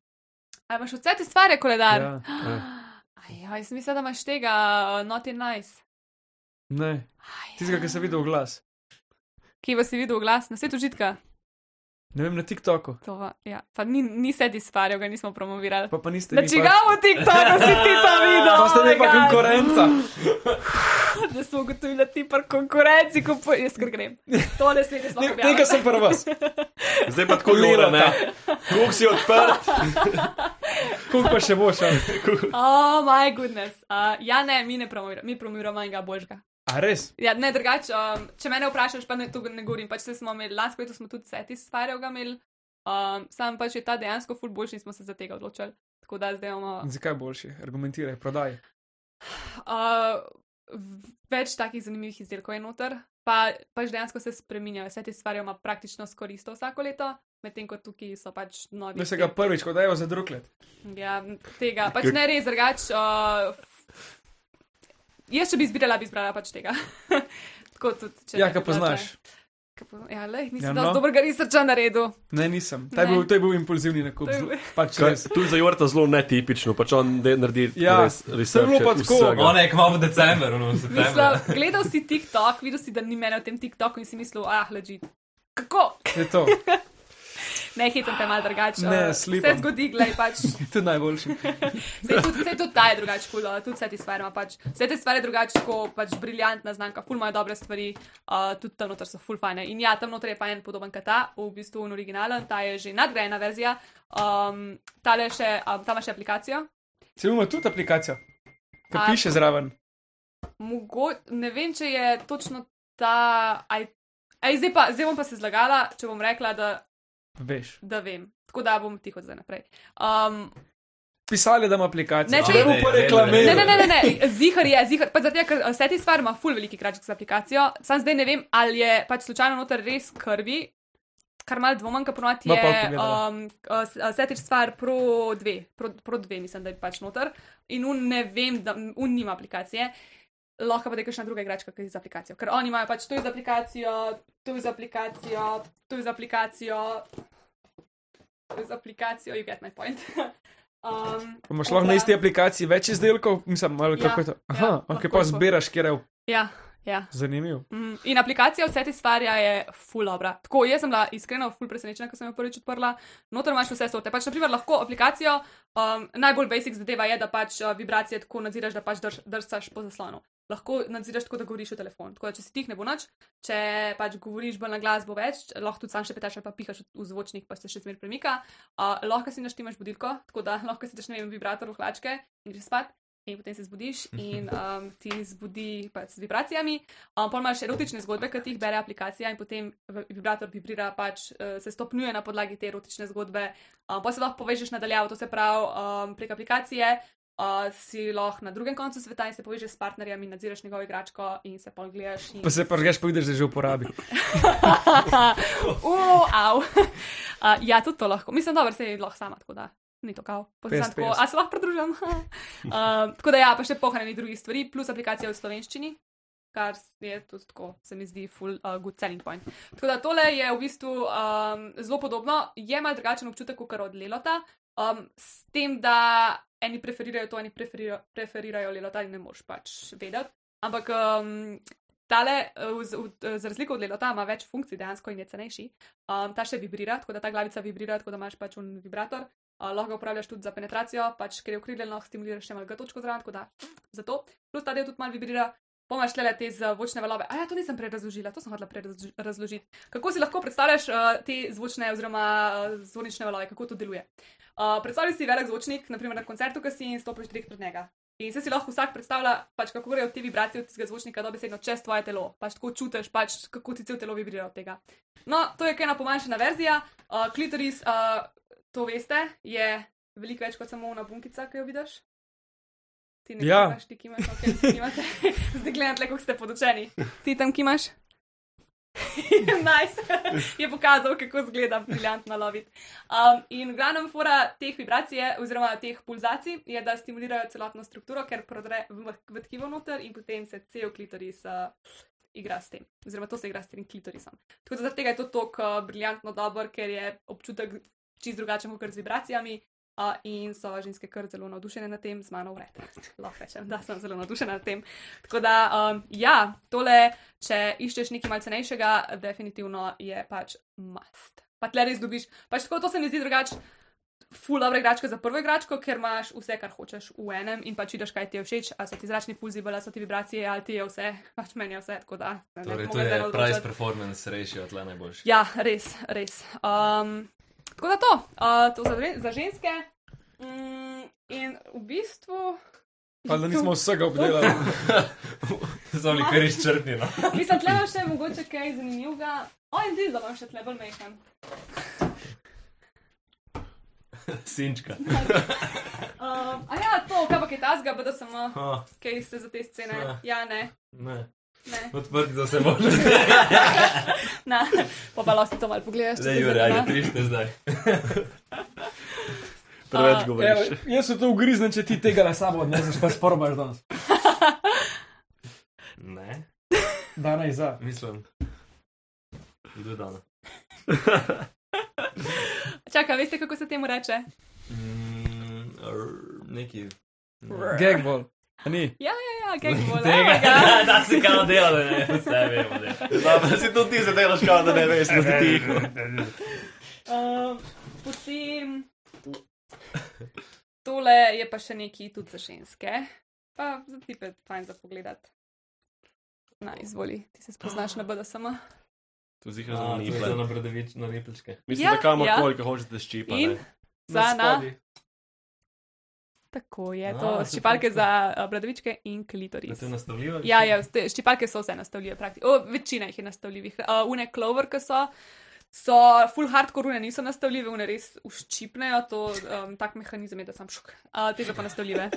A imaš od vse te stvari koledar? (gasps) Ja. Aj, jaz mislim, da imaš tega, uh, not in nice. Ne, Aj, tistega, ki sem videl v glas. Kje pa si videl glas, na svetu užitka? Ne vem, na TikToku. To va, ja. Pa ni, ni se disfaril, ga nismo promovirali. Pa pa niste Na vi čigavo TikToku si ti (laughs) to videl? Pa ste Oh my vi pa God. konkurenca. Da smo ugotovili, da ti pa konkurenci kupuješ, jaz kar (laughs) grem. To ne smete Ne- smeti. Nekaj sem prva. Zdaj pa tako lilo, ne. Kuk si odprt. Kuk pa še boš. a? Oh, moj goodness. Uh, ja, ne, mi ne promoviramo, mi promoviramo enega božga. A res? Ja, ne, drugače, um, če me vprašaš, pa ne, to ne govorim. Pač saj smo imeli, lansko leto smo tudi satisfaril ga imeli, um, sam pač je ta dejansko ful boljši in smo se za tega odločili. Tako da zdaj imamo In Zakaj boljši? Argumentiraj, prodaj. Uh, v- več takih zanimivih izdelkov je noter, pa, pač dejansko se spremenjajo. Vse te stvari ima praktično skoristo vsako leto, medtem ko tukaj so pač novi. Da se ga prvič, ko dajo za drug let. Ja, tega, pač ne res drugač. Uh, jaz, če bi izbirala, bi izbrala pač tega. (laughs) Tako tudi, če Ja, ne ga bi bila poznaš. tla- Ka pozna- Ja, le, Ja, nisem ja, no. no. dobrega researcha naredil. Ne, nisem. Ta je Ne. bil, to je bil impulzivni nakup. To je zelo- bil- Pač res. Tu je za Jorta zelo netipično, pač on de, naredi Ja, res to je bilo research. pa tako, On je kmalo v decembru, no, v Mislim, septembru. gledal si TikTok, videl si, da ni mene v tem TikToku in si mislil, ah, leži. Kako? (laughs) Je to. (laughs) Ne, hitem te malo drugače. Ne, uh, slipam. Se zgodi, glej, pač To je najboljši. Sej tudi, sej tudi ta je drugače kul, cool, tudi vse te stvari ima pač. Vse te stvari je drugače, kot pač briljantna znamka, ful imajo dobre stvari, uh, tudi tam noter so ful fajne. In ja, tam noter je pa en podoben kot ta, v bistvu un originalen, ta je že nadgrajena verzija, um, ta, še, um, ta ima še aplikacijo. Celo ima tudi aplikacijo, ki A- piše zraven. Mogo, ne vem, če je točno ta. Aj, aj, zdaj, pa, zdaj bom pa se zlagala, če bom rekla, da, Veš. da vem. Tako da bom tiho zdaj naprej. Um, Pisali, da ima aplikacijo. Ne, A če- ne bo Ne, pa ne, reklame. Ne, ne, ne, ne, (laughs) ne. zihar je, zihar. Pa zato, ker vse te stvari ima full veliki kraček z aplikacijo. Sam zdaj ne vem, ali je pač slučajno noter res krvi, kar mal dvomim, ker ponovadi Ma pol je pogledala. um, vse te stvari pro 2, pro, pro 2 mislim, da je pač noter. In un ne vem, da un nima aplikacije. Lahko pa da je kakšna druga igračka, ki je z aplikacijo. Ker oni imajo pač to je z aplikacijo, to je z aplikacijo, to je z aplikacijo, to je z aplikacijo, you get my point. (laughs) um, Pa Imaš lahko na tako da- isti aplikaciji več izdelkov, mislim, ali Ja, kako je to. ja, Aha, ok, lahko pa je to. zbiraš, kjer je. v- Ja, Ja. Zanimivo. Mm, In aplikacija od Satisfarja je full dobra. Tako, jaz sem bila iskreno full presenečena, ko sem jo prvič odprla. Notor imaš vse sorte. Pač, naprimer, lahko aplikacijo, um, najbolj basic zadeva je, da pač uh, vibracije tako nadziraš, da pač drž, drsaš po zaslonu. Lahko nadziraš tako, da govoriš v telefon. Tako da, če si tih ne bo noč, če paš govoriš bolj na glas, bo več, lahko tudi sam še petaš ali pa pihaš v zvočnik, pa se še smer premika. Uh, lahko si naštimaš budilko, tako da lahko si daš, ne vem, vibrator v hlačke in greš spat. In potem se zbudiš in um, ti zbudi pač z vibracijami. Um, Pol imaš erotične zgodbe, ki ti jih bere aplikacija in potem v- vibrator vibrira, pač uh, se stopnjuje na podlagi te erotične zgodbe. Um, pa se lahko povežeš nadaljavo, to se pravi um, prek aplikacije. Uh, si lahko na drugem koncu sveta in se povežeš s partnerjem in nadziraš njegovo igračko in se pol gledaš. In... Pa se pa greš, pa vidiš, da je že v uporabi. (laughs) uh, au. Uh, ja, tudi to lahko. Mislim, dobro, se je lahko sama, tako da ni to kao. Pa sem Pest, tako, pest. a se lahko pridružim. (laughs) uh, tako da ja, pa še pohranjenih drugih stvari, plus aplikacija v slovenščini. Kar je tudi tako, se mi zdi, full uh, good selling point. Tako da tole je v bistvu um, zelo podobno, je mal drugačen občutek, kot od Lelota, um, s tem, da eni preferirajo to, eni preferirajo, preferirajo Lelota in ne moreš pač vedeti. Ampak um, Tale, eh, z, v- z razliko od Lelota, ima več funkcij dejansko in je cenejši. Um, ta še vibrira, tako da ta glavica vibrira, tako da imaš pač un vibrator. Uh, lahko ga uporabljaš tudi za penetracijo, pač ker je ukriljen, lahko stimuliraš še malo G točko zraven, tako da zato. Plus ta del tudi malo vibrira. Pomaš le te zvočne valove. A ja, to nisem prej razložila, to sem hodila prej razloži- razložiti. Kako si lahko predstavljaš uh, te zvočne oziroma uh, zvonične valove, kako to deluje? Uh, predstavljaj si velik zvočnik, naprimer na koncertu, ki si in stopiš direkt pred njega. In se si lahko vsak predstavlja, pač, kako grejo te vibracije od tega zvočnika dobesedno čez tvoje telo. Pač tako čutiš, pač, kako ti cel telo vibrira od tega. No, to je ena pomanjšana verzija. Uh, klitoris, uh, to veste, je veliko več kot samo ona bunkica, ki jo vidiš. Ti ne Ja. kimaš, ti kimaš, ok, vsi kimate. (laughs) Zdaj gledam, tle, kako ste podočeni. Ti tam kimaš? (laughs) nice. je pokazal, kako zgleda briljantno loviti. Um, in glavna fora teh vibracij, je, oziroma teh pulzacij, je, da stimulirajo celotno strukturo, ker prodre v, mah- v tkivo noter in potem se cel klitoris uh, igra s tem. Oziroma, to se igra s tem klitorisom. Tako da zaradi tega je to tako uh, briljantno dober, ker je občutek čist drugačen kot z vibracijami. Uh, in so ženske kar zelo navdušene nad tem, z mano vred. Lahko rečem, da sem zelo navdušena nad tem. Tako da, um, ja, tole, če iščeš nekaj malce cenejšega, definitivno je pač must. Pa tle res dobiš. Pač tako, to se mi zdi drugače. Ful dobra igračka za prvo igračko, ker imaš vse, kar hočeš v enem in pač vidiš, kaj ti je všeč, ali so ti zračni pulzi, ali so ti vibracije, ali ti je vse, pač meni je vse, tako da. ne bi Torej, to mogla zdaj je price odločati. performance ratio, tle najboljši. (laughs) Ja, res, res. Um, tako da to, uh, to za, dve- za ženske. Mm, in v bistvu, Pa da nismo vsega obdelali. Zelo mi kar izčrpni. No. mislim, tle imam še mogoče kaj zanimivega. O, in dil, da imam še tle bolj mehkem. Sinčka. Um, a ja, to, kaj pa kaj tasga, pa da sem, Oh, kaj ste za te scene. Ja. Ja, ne, ne. ne. Odprti za vse možne. Na, pa pa lahko si to malo pogledaš. (laughs) Zdaj, če te Jure, ajde, zanima. trište zdaj. Preveč A, Evo, govoriš. jaz se to ugriznem, če ti tega na sabo odneseš, pa sporobaš danes. Ne, Danes za. mislim. Kdo je dan? Čakaj, veste, kako se temu reče? Mm, r- neki. Gagball. A Ni. Ja, kaj bo. ja. Tega, (laughs) da si kao dela, da ne vse vemo. Da pa si tudi ti zadelaš kao, da ne veš, da si (laughs) tiho. Um, potem. Tole je pa še neki tudi za ženske. Pa za tipe, fajn za pogled. Na, izvoli, ti se spoznaš na BDSM. To zihar Ja, to zelo ni je to bilo. na brdovič, na repličke. Mislim, Ja, da kamo ja. koliko hočete ščipa. In ne. za na. spodaj. Tako je, A, to super. ščipalke za a, bradavičke in klitoris. Da te nastavljiva? Ja, ja, te ščipalke so vse nastavljive, praktično. O, večina jih je nastavljivih. Uh, une clover, ki so, so full hardcore, une niso nastavljive, une res uščipnejo, to um, tak mehanizem je, da sem šok. Uh, te so pa nastavljive.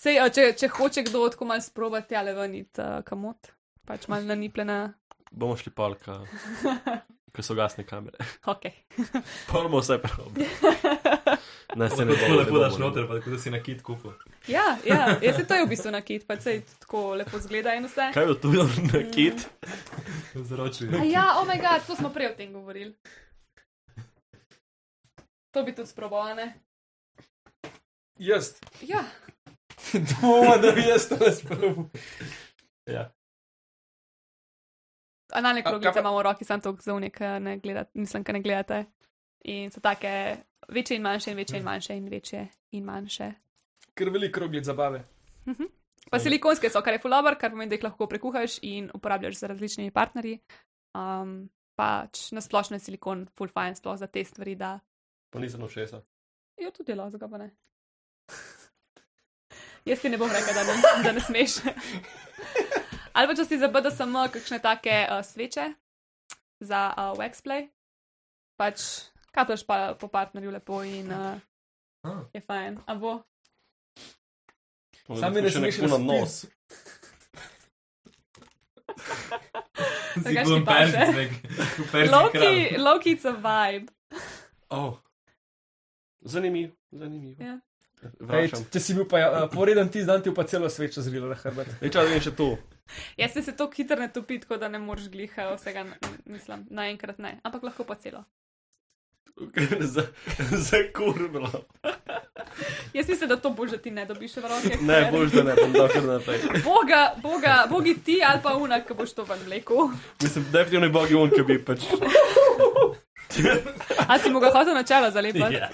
Sej, uh, če, če hoče kdo tako malo sprobati, ali ven it uh, kamot, pač malo nanipljena, Bomo šli (laughs) palka, ko so gasne (laughs) kamere. ok. Pormo vse prav. Ne, se ne Tako bomo, lepo ne daš (laughs) bomo, ne noter, pa tako da si na kit kupu. Ja, ja, jaz se to je v bistvu nakit, pa sej tako lepo zgleda in vse. bomo. Kaj je to bil na kit? Zroči. A ja, omega, oh to smo prej o tem govorili. To bi tudi sprobovane. Jaz. Ja, Dvoma, da bi jaz to razpravil. Analne A, kaj kroglice pa- imamo v roki, samo toliko za unika, ne gledate, mislim, da ne gledate. In so take večje in manjše, in večje in manjše, in večje in manjše. Mhm. Mhm. Ker veliko roglic zabave. Pa silikonske so, kar je fulobar, kar pomeni, da jih lahko prekuhaš in uporabljaš z različnimi partnerji. Um, pač na splošno je silikon full fine, sploh za te stvari, da Pa nisem všesa. jo tudi delo, zakaj pa ne. (laughs) Jaz ti ne bom rekel, da ne, da ne (laughs) smeš. Ali pa če si za BDSM kakšne take uh, sveče za uh, waxplay, pač kataš pa po partnerju lepo in uh, Ah. je fajn. A bo? Sam mi ne smeš na razpil. nos. Zakaj Si bom šnipaš, eh? persic, nek. Persic Loki, kran. Loki, it's a vibe. Oh. Zanimivo, zanimivo. Ja. Ej, Vračam. če- če si bil pa ja, poreden ti, znam ti pa celo svečo zrilo na hrbet. Ej, čakaj, in še to. Jaz se to hitro ne topi, tako da ne moreš gliha vsega, n- mislim, naenkrat ne, ampak lahko pa celo. (laughs) za, za kurblo. Jaz mislim, da to boš, da ti ne dobiš v roke. Ne, ker- bož, da ne bom dal kar naprej. Boga, boga, bogi ti ali pa unak, ki boš to ven vlekel. Mislim, definitivno je bogi on, ki bi pač. A si mu ga hotel na čelo zalepiti? Ja.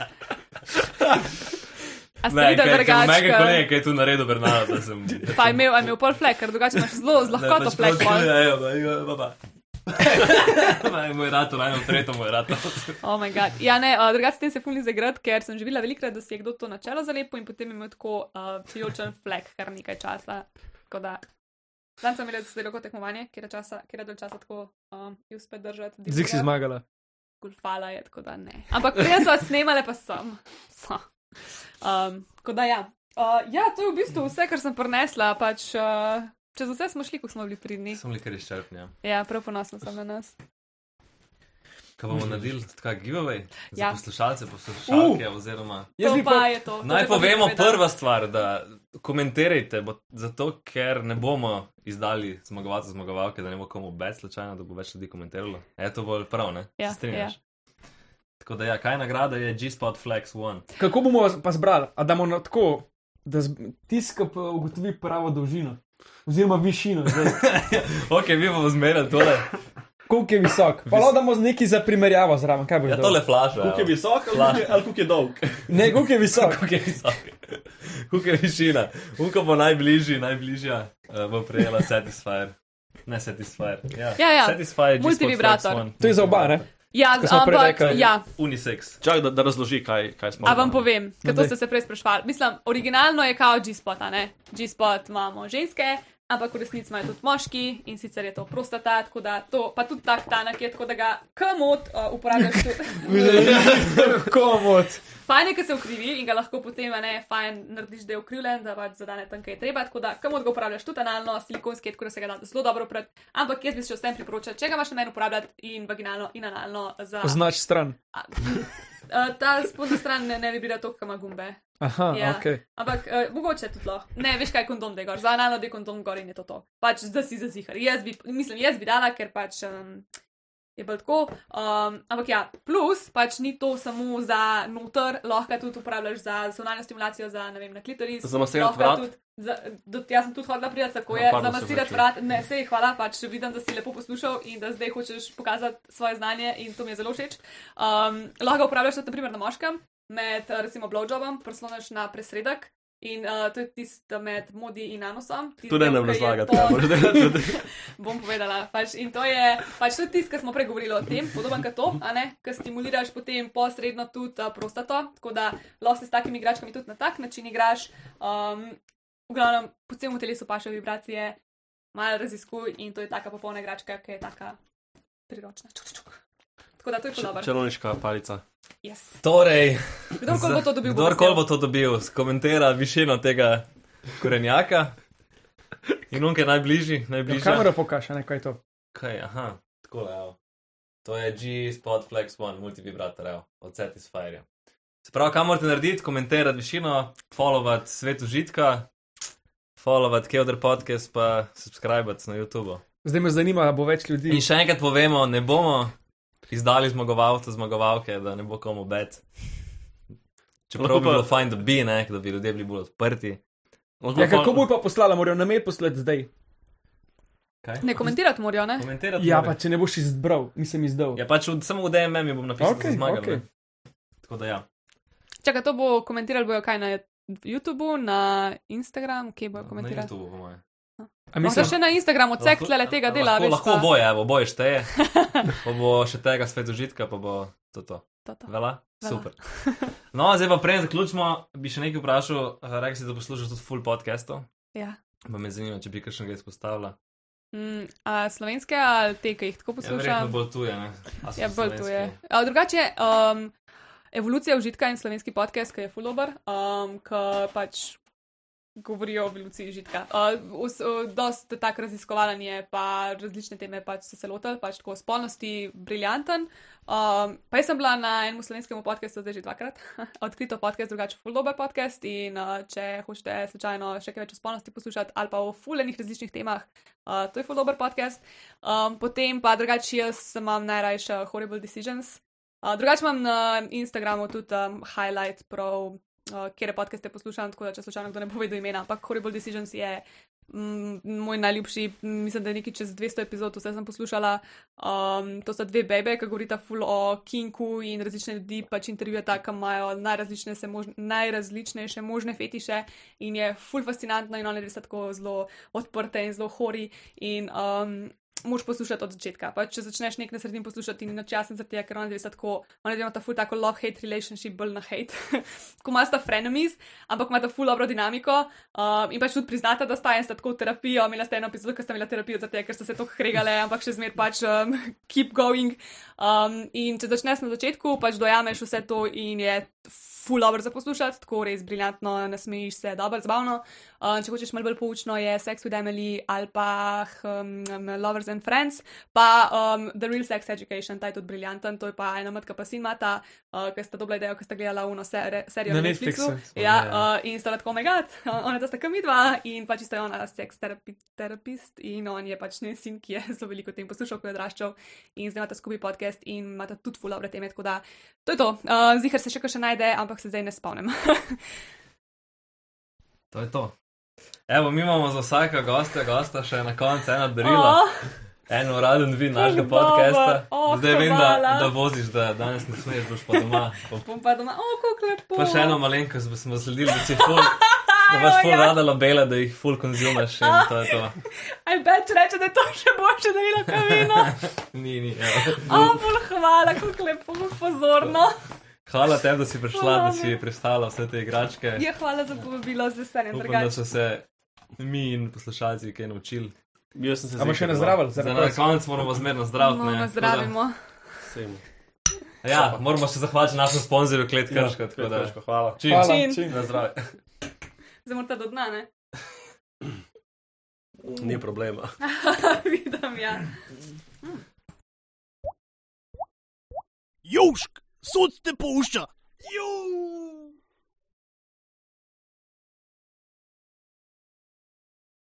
A si Ne, videl Mega kolega, drugače? ja. ki je tu naredil Bernardo, (laughs) da pač sem. Pa je imel, a je imel pol flek, ker drugače imaš zelo z lahkoto flek. (laughs) pol. Ja, Naj moj rato, naj tretjo moj rato. Oh my god. ja, ne, uh, drugače s tem se fulni zagrad, ker sem že videla velikrat, da si je kdo to na čelo zalepil in potem je imel tako uh, fijočen flek kar nekaj časa. Tako da. Danes sem imela zelo tekmovanje, kjer je časa, kjer je del časa tako um, je uspel držati. Zig si zmagala. Kulfala je, tako da ne. Ampak prej so vas snemale, pa sem. So. Um, tako da ja. Uh, ja, to je v bistvu vse, kar sem prinesla. Pač, uh, čez vse smo šli, ko smo bili pridni. Sem li kar izčrpnja. Ja, prav ponosna sem na nas. Kaj bomo naredili, tako giveaway? Za Ja. poslušalce, poslušalke, oziroma. Jaz to bi pa, pa- je to. to Naj bi pa povemo povedala. prva stvar, da komentirajte, bo, zato ker ne bomo izdali zmagovalca zmagovalke, da ne bo komu več slučajno, da bo več ljudi komentiralo. Je to bolj prav, ne? Ja, Se strinjaš. Tako da ja, kaj nagrada je G-Spot Flex One. (laughs) Kako bomo pa zbrali? A damo na tako, da zb- tisk pa ugotovi pravo dolžino. Oziroma višino, zdaj. Ok, mi bomo zmerjali tole. koliko je visok. Pa lahko damo z neki za primerjavo zraven, kaj bo Ja, tole flaša. Kuk je evo. visok ali koliko je- ali kuk je dolg. Ne, koliko je visok. Kako je visok? Kako je višina? Uko bo najbližji, najbližja uh, bo prejela Satisfyer. Ne Satisfyer. Ja, Ja, ja. Satisfyer, Multivibrator. To je za oba, ne? Ja, Ko smo prej ampak rekli. ja, Unisex. Čak, da, da razloži, kaj, kaj smo. a vam povem, ker to No, daj. ste se prej sprašvali. Mislim, originalno je kao G-spot, a ne? G-spot imamo ženske. Ampak v resnici imajo tudi moški in sicer je to prostata, tako da to, pa tudi tak tanak je, tako da ga kamot uh, uporabljaš (laughs) tudi. Komod. Fajn je, ker se ukrivi in ga lahko potem, a ne, fajn narediš, da je ukrivljen, da pač zadane tam, kaj je treba. Tako da, kamor ga uporabljaš, tudi analno, silikonski, tako da se ga da zelo dobro uprati. Ampak jaz bi se še vsem priporočal, če ga imaš namen uporabljati in vaginalno in analno za. Označ stran. A, (laughs) a, ta spodnja stran ne, ne vibrira toliko, kot ima gumbe. Aha, Ja. ok. Ampak uh, mogoče tudi lahko. Ne, veš kaj, kondom da je gor, za analno da je kondom gor in je to to. Pač da si zazihar. Jaz bi, mislim, jaz bi dala, ker pač um, je bolj tako. Um, ampak ja, plus pač ni to samo za noter, lahko tudi uporabljaš za zonalno stimulacijo, za ne vem, na klitoris. Za Lahko masirati vrat? Tudi, za, do, jaz sem tudi hodila prijeti, tako No, je, za pardon, se masirati vračam. vrat. Ne, sej, hvala, pač vidim, da si lepo poslušal in da zdaj hočeš pokazati svoje znanje in to mi je zelo všeč. Um, lahko ga uporabljaš tudi naprimer na moškem, med eh, recimo blowjobom, prosloniš na presredek. In uh, to je tisto med modi in anusom. Tisti Tu ne del, nam ki je razlagati, pod- kaj boš delal. (laughs) bom povedala. Pač, in to je pač tudi tisto, kar smo pregovorili o tem, podoben kot to, a ne, ker stimuliraš potem posredno tudi uh, prostato, tako da lahko se s takimi igračkami tudi na tak način igraš. Um, v glavnem, po celem telesu paše vibracije, malo raziskuj in to je taka popolna igračka, ki je taka priročna. Čuk, čuk, čuk. Tako da to je Č- zelo dobro. Čarovniška palica. Yes. Torej, Kdorkoli bo to dobil, bo Kdorkoli bo vesel. to dobil, skomentira višino tega korenjaka. In unke najbližji, Ja, najbližji. kamero pokaže, ne, kaj je to. Kaj, aha, tako je. To je G-Spot Flex One, multivibrator, evo, od Satisfyerja. Se pravi, kaj morate narediti, komentirati višino, followati svet užitka, followati Kevder podcast, pa subskrbati na YouTube. Zdaj me zanima, ali bo več ljudi. In še enkrat povemo, ne bomo izdali zmagovalca, zmagovalke, da ne bo komu bet. Čeprav Lahko bi pa- bilo fajn, da bi, ne, da bi ljudje bili bolj odprti, Lahko Ja, pa- kako bo pa poslala, morajo na mail poslati zdaj. Kaj? Ne komentirati morajo, ne? Komentirati. Ja, mora. pa če ne boš izbral, nisem izdal. ja pač v, samo v DMM bom napisal, okay, da Okej, sem zmagal. okej. Okay. Tako da ja. Čakaj, to bo komentirali bojo kaj na YouTubu, na Instagram, kje bojo Na komentirali. YouTubeu, po moje. Morda A mislim, še na Instagramu, odsek Lahko- tle tega dela, lahko, veš. Lahko ta- oboje, evo, oboje (laughs) šteje. Pa bo še tega svet užitka, pa bo to to. to, to. Vela? Velja. Super. No, zdaj pa prej zaključimo, bi še nekaj vprašal. eh, Rekli si, da poslušaš tudi full podcastov. Ja. Pa me zanima, če bi kakšnega izpostavila. Mm, a slovenske ali te, ki jih tako Ja, verjetno poslušam? bolj tuje, ne? A so Ja, bolj slovenski? tuje. A, Drugače, um, evolucija užitka in slovenski podcast, ki je fulobar, um, ki pač govorijo o evoluciji užitka. Uh, dost tak raziskovalen je, pa različne teme pač so se lotili, pač tako o spolnosti, briljanten. Um, pa jaz sem bila na enem slovenskem podkastu zdaj že dvakrat, odkrito podcast, drugače fulobar podcast in uh, če hočete slučajno še kaj več o spolnosti poslušati ali pa o fulenih različnih temah, uh, to je fulobar podcast. Um, potem pa drugače jaz imam najrajše Horrible Decisions. Uh, drugače imam na Instagramu tudi um, highlight prav, uh, kjer podcaste poslušam, tako da če slučajno kdo ne bo vedel imena, ampak Horrible Decisions je mm, moj najljubši, mm, mislim, da je nekaj čez 200 epizod, vse sem poslušala. Um, to so dve bebe, ki govorita ful o kinku in različne ljudi, pač intervjujeta, ki imajo najrazličnejše možne, najrazličnejše možne fetiše in je ful fascinantno in one res tako zelo odprte in zelo hori in um, moš poslušati od začetka. Pa če začneš nek na sredini poslušati in načasen zaradi tega, ker oni res tako, oni imata ful tako love-hate relationship, bolj na hate. (laughs) Ko ima sta frenemies, ampak imata ful dobro dinamiko um, in pač tudi priznata, da sta en sta tako v terapijo, imela sta eno epizodo, ker sta imela terapijo zaradi tega, ker sta se tako hregale, ampak še zmer pač um, keep going. Um, in če začneš na začetku, pač dojameš vse to in je ful dobro za poslušati, tako res briljantno, nasmejiš se, dobro, zabavno. Uh, če hočeš malo bolj poučno, je Sex with Emily ali pa um, Lovers and Friends, pa um, The Real Sex Education, ta je tudi briljanten, to je pa ena matka pa sin mata, uh, ki sta dobila idejo, ki sta gledala uno ser serijo Na na Netflixu. Netflixu. Ja. Ja, uh, in sta bila tako omegat, (laughs) ona da sta kam idva in pač sta je ona seks terapi terapist in on je pač njen sin, ki je (laughs) zelo veliko o tem poslušal, ko je odraščal in zdaj imata skupaj podcast in imata tudi full dobre teme, tako da to je to. Uh, Zihar se še kaj še najde, ampak se zdaj ne spomnim. (laughs) To je to. Evo, mi imamo za vsaka gosta, gosta še na koncu ena darila. Oh. En uraden vin našega dobro. podcasta. O, Zdaj vem, da, hvala. da voziš, da danes ne smeš, boš pa doma. Ob Bom pa doma, o, kako lepo. Pa še eno malenkost bi smo sledili, da si (laughs) ful, da imaš ful Evo ga. rada labela, da jih ful konzumiraš in to je to. Aj, več reče, da je to še boljše, da je bilo kamino. (laughs) Ni, ni, evo. O, bolj hvala, kako lepo, kako pozorno. Hvala tebi, da si prišla, da Hvala. si prestala vse te igračke. Je Ja, hvala za povabilo, z veseljem Upam, da drugače. so se mi in poslušalci kaj naučili. Jaz sem se A boš še zihar, no. nazdravil? Zdaj na koncu moramo zmerno zdraviti. ne, Mama, tako da- No, zdravimo. Sejmo. Ja, moramo še zahvaliti našemu sponzorju Ja, Klet Krško, tako da. Krško, Hvala. Čim, Hvala. Čin. čim. Na zdravje. Zdaj morate do dna, ne? (laughs) Ni problema. Vidim, ja. Južk, sod te pušča! Južk!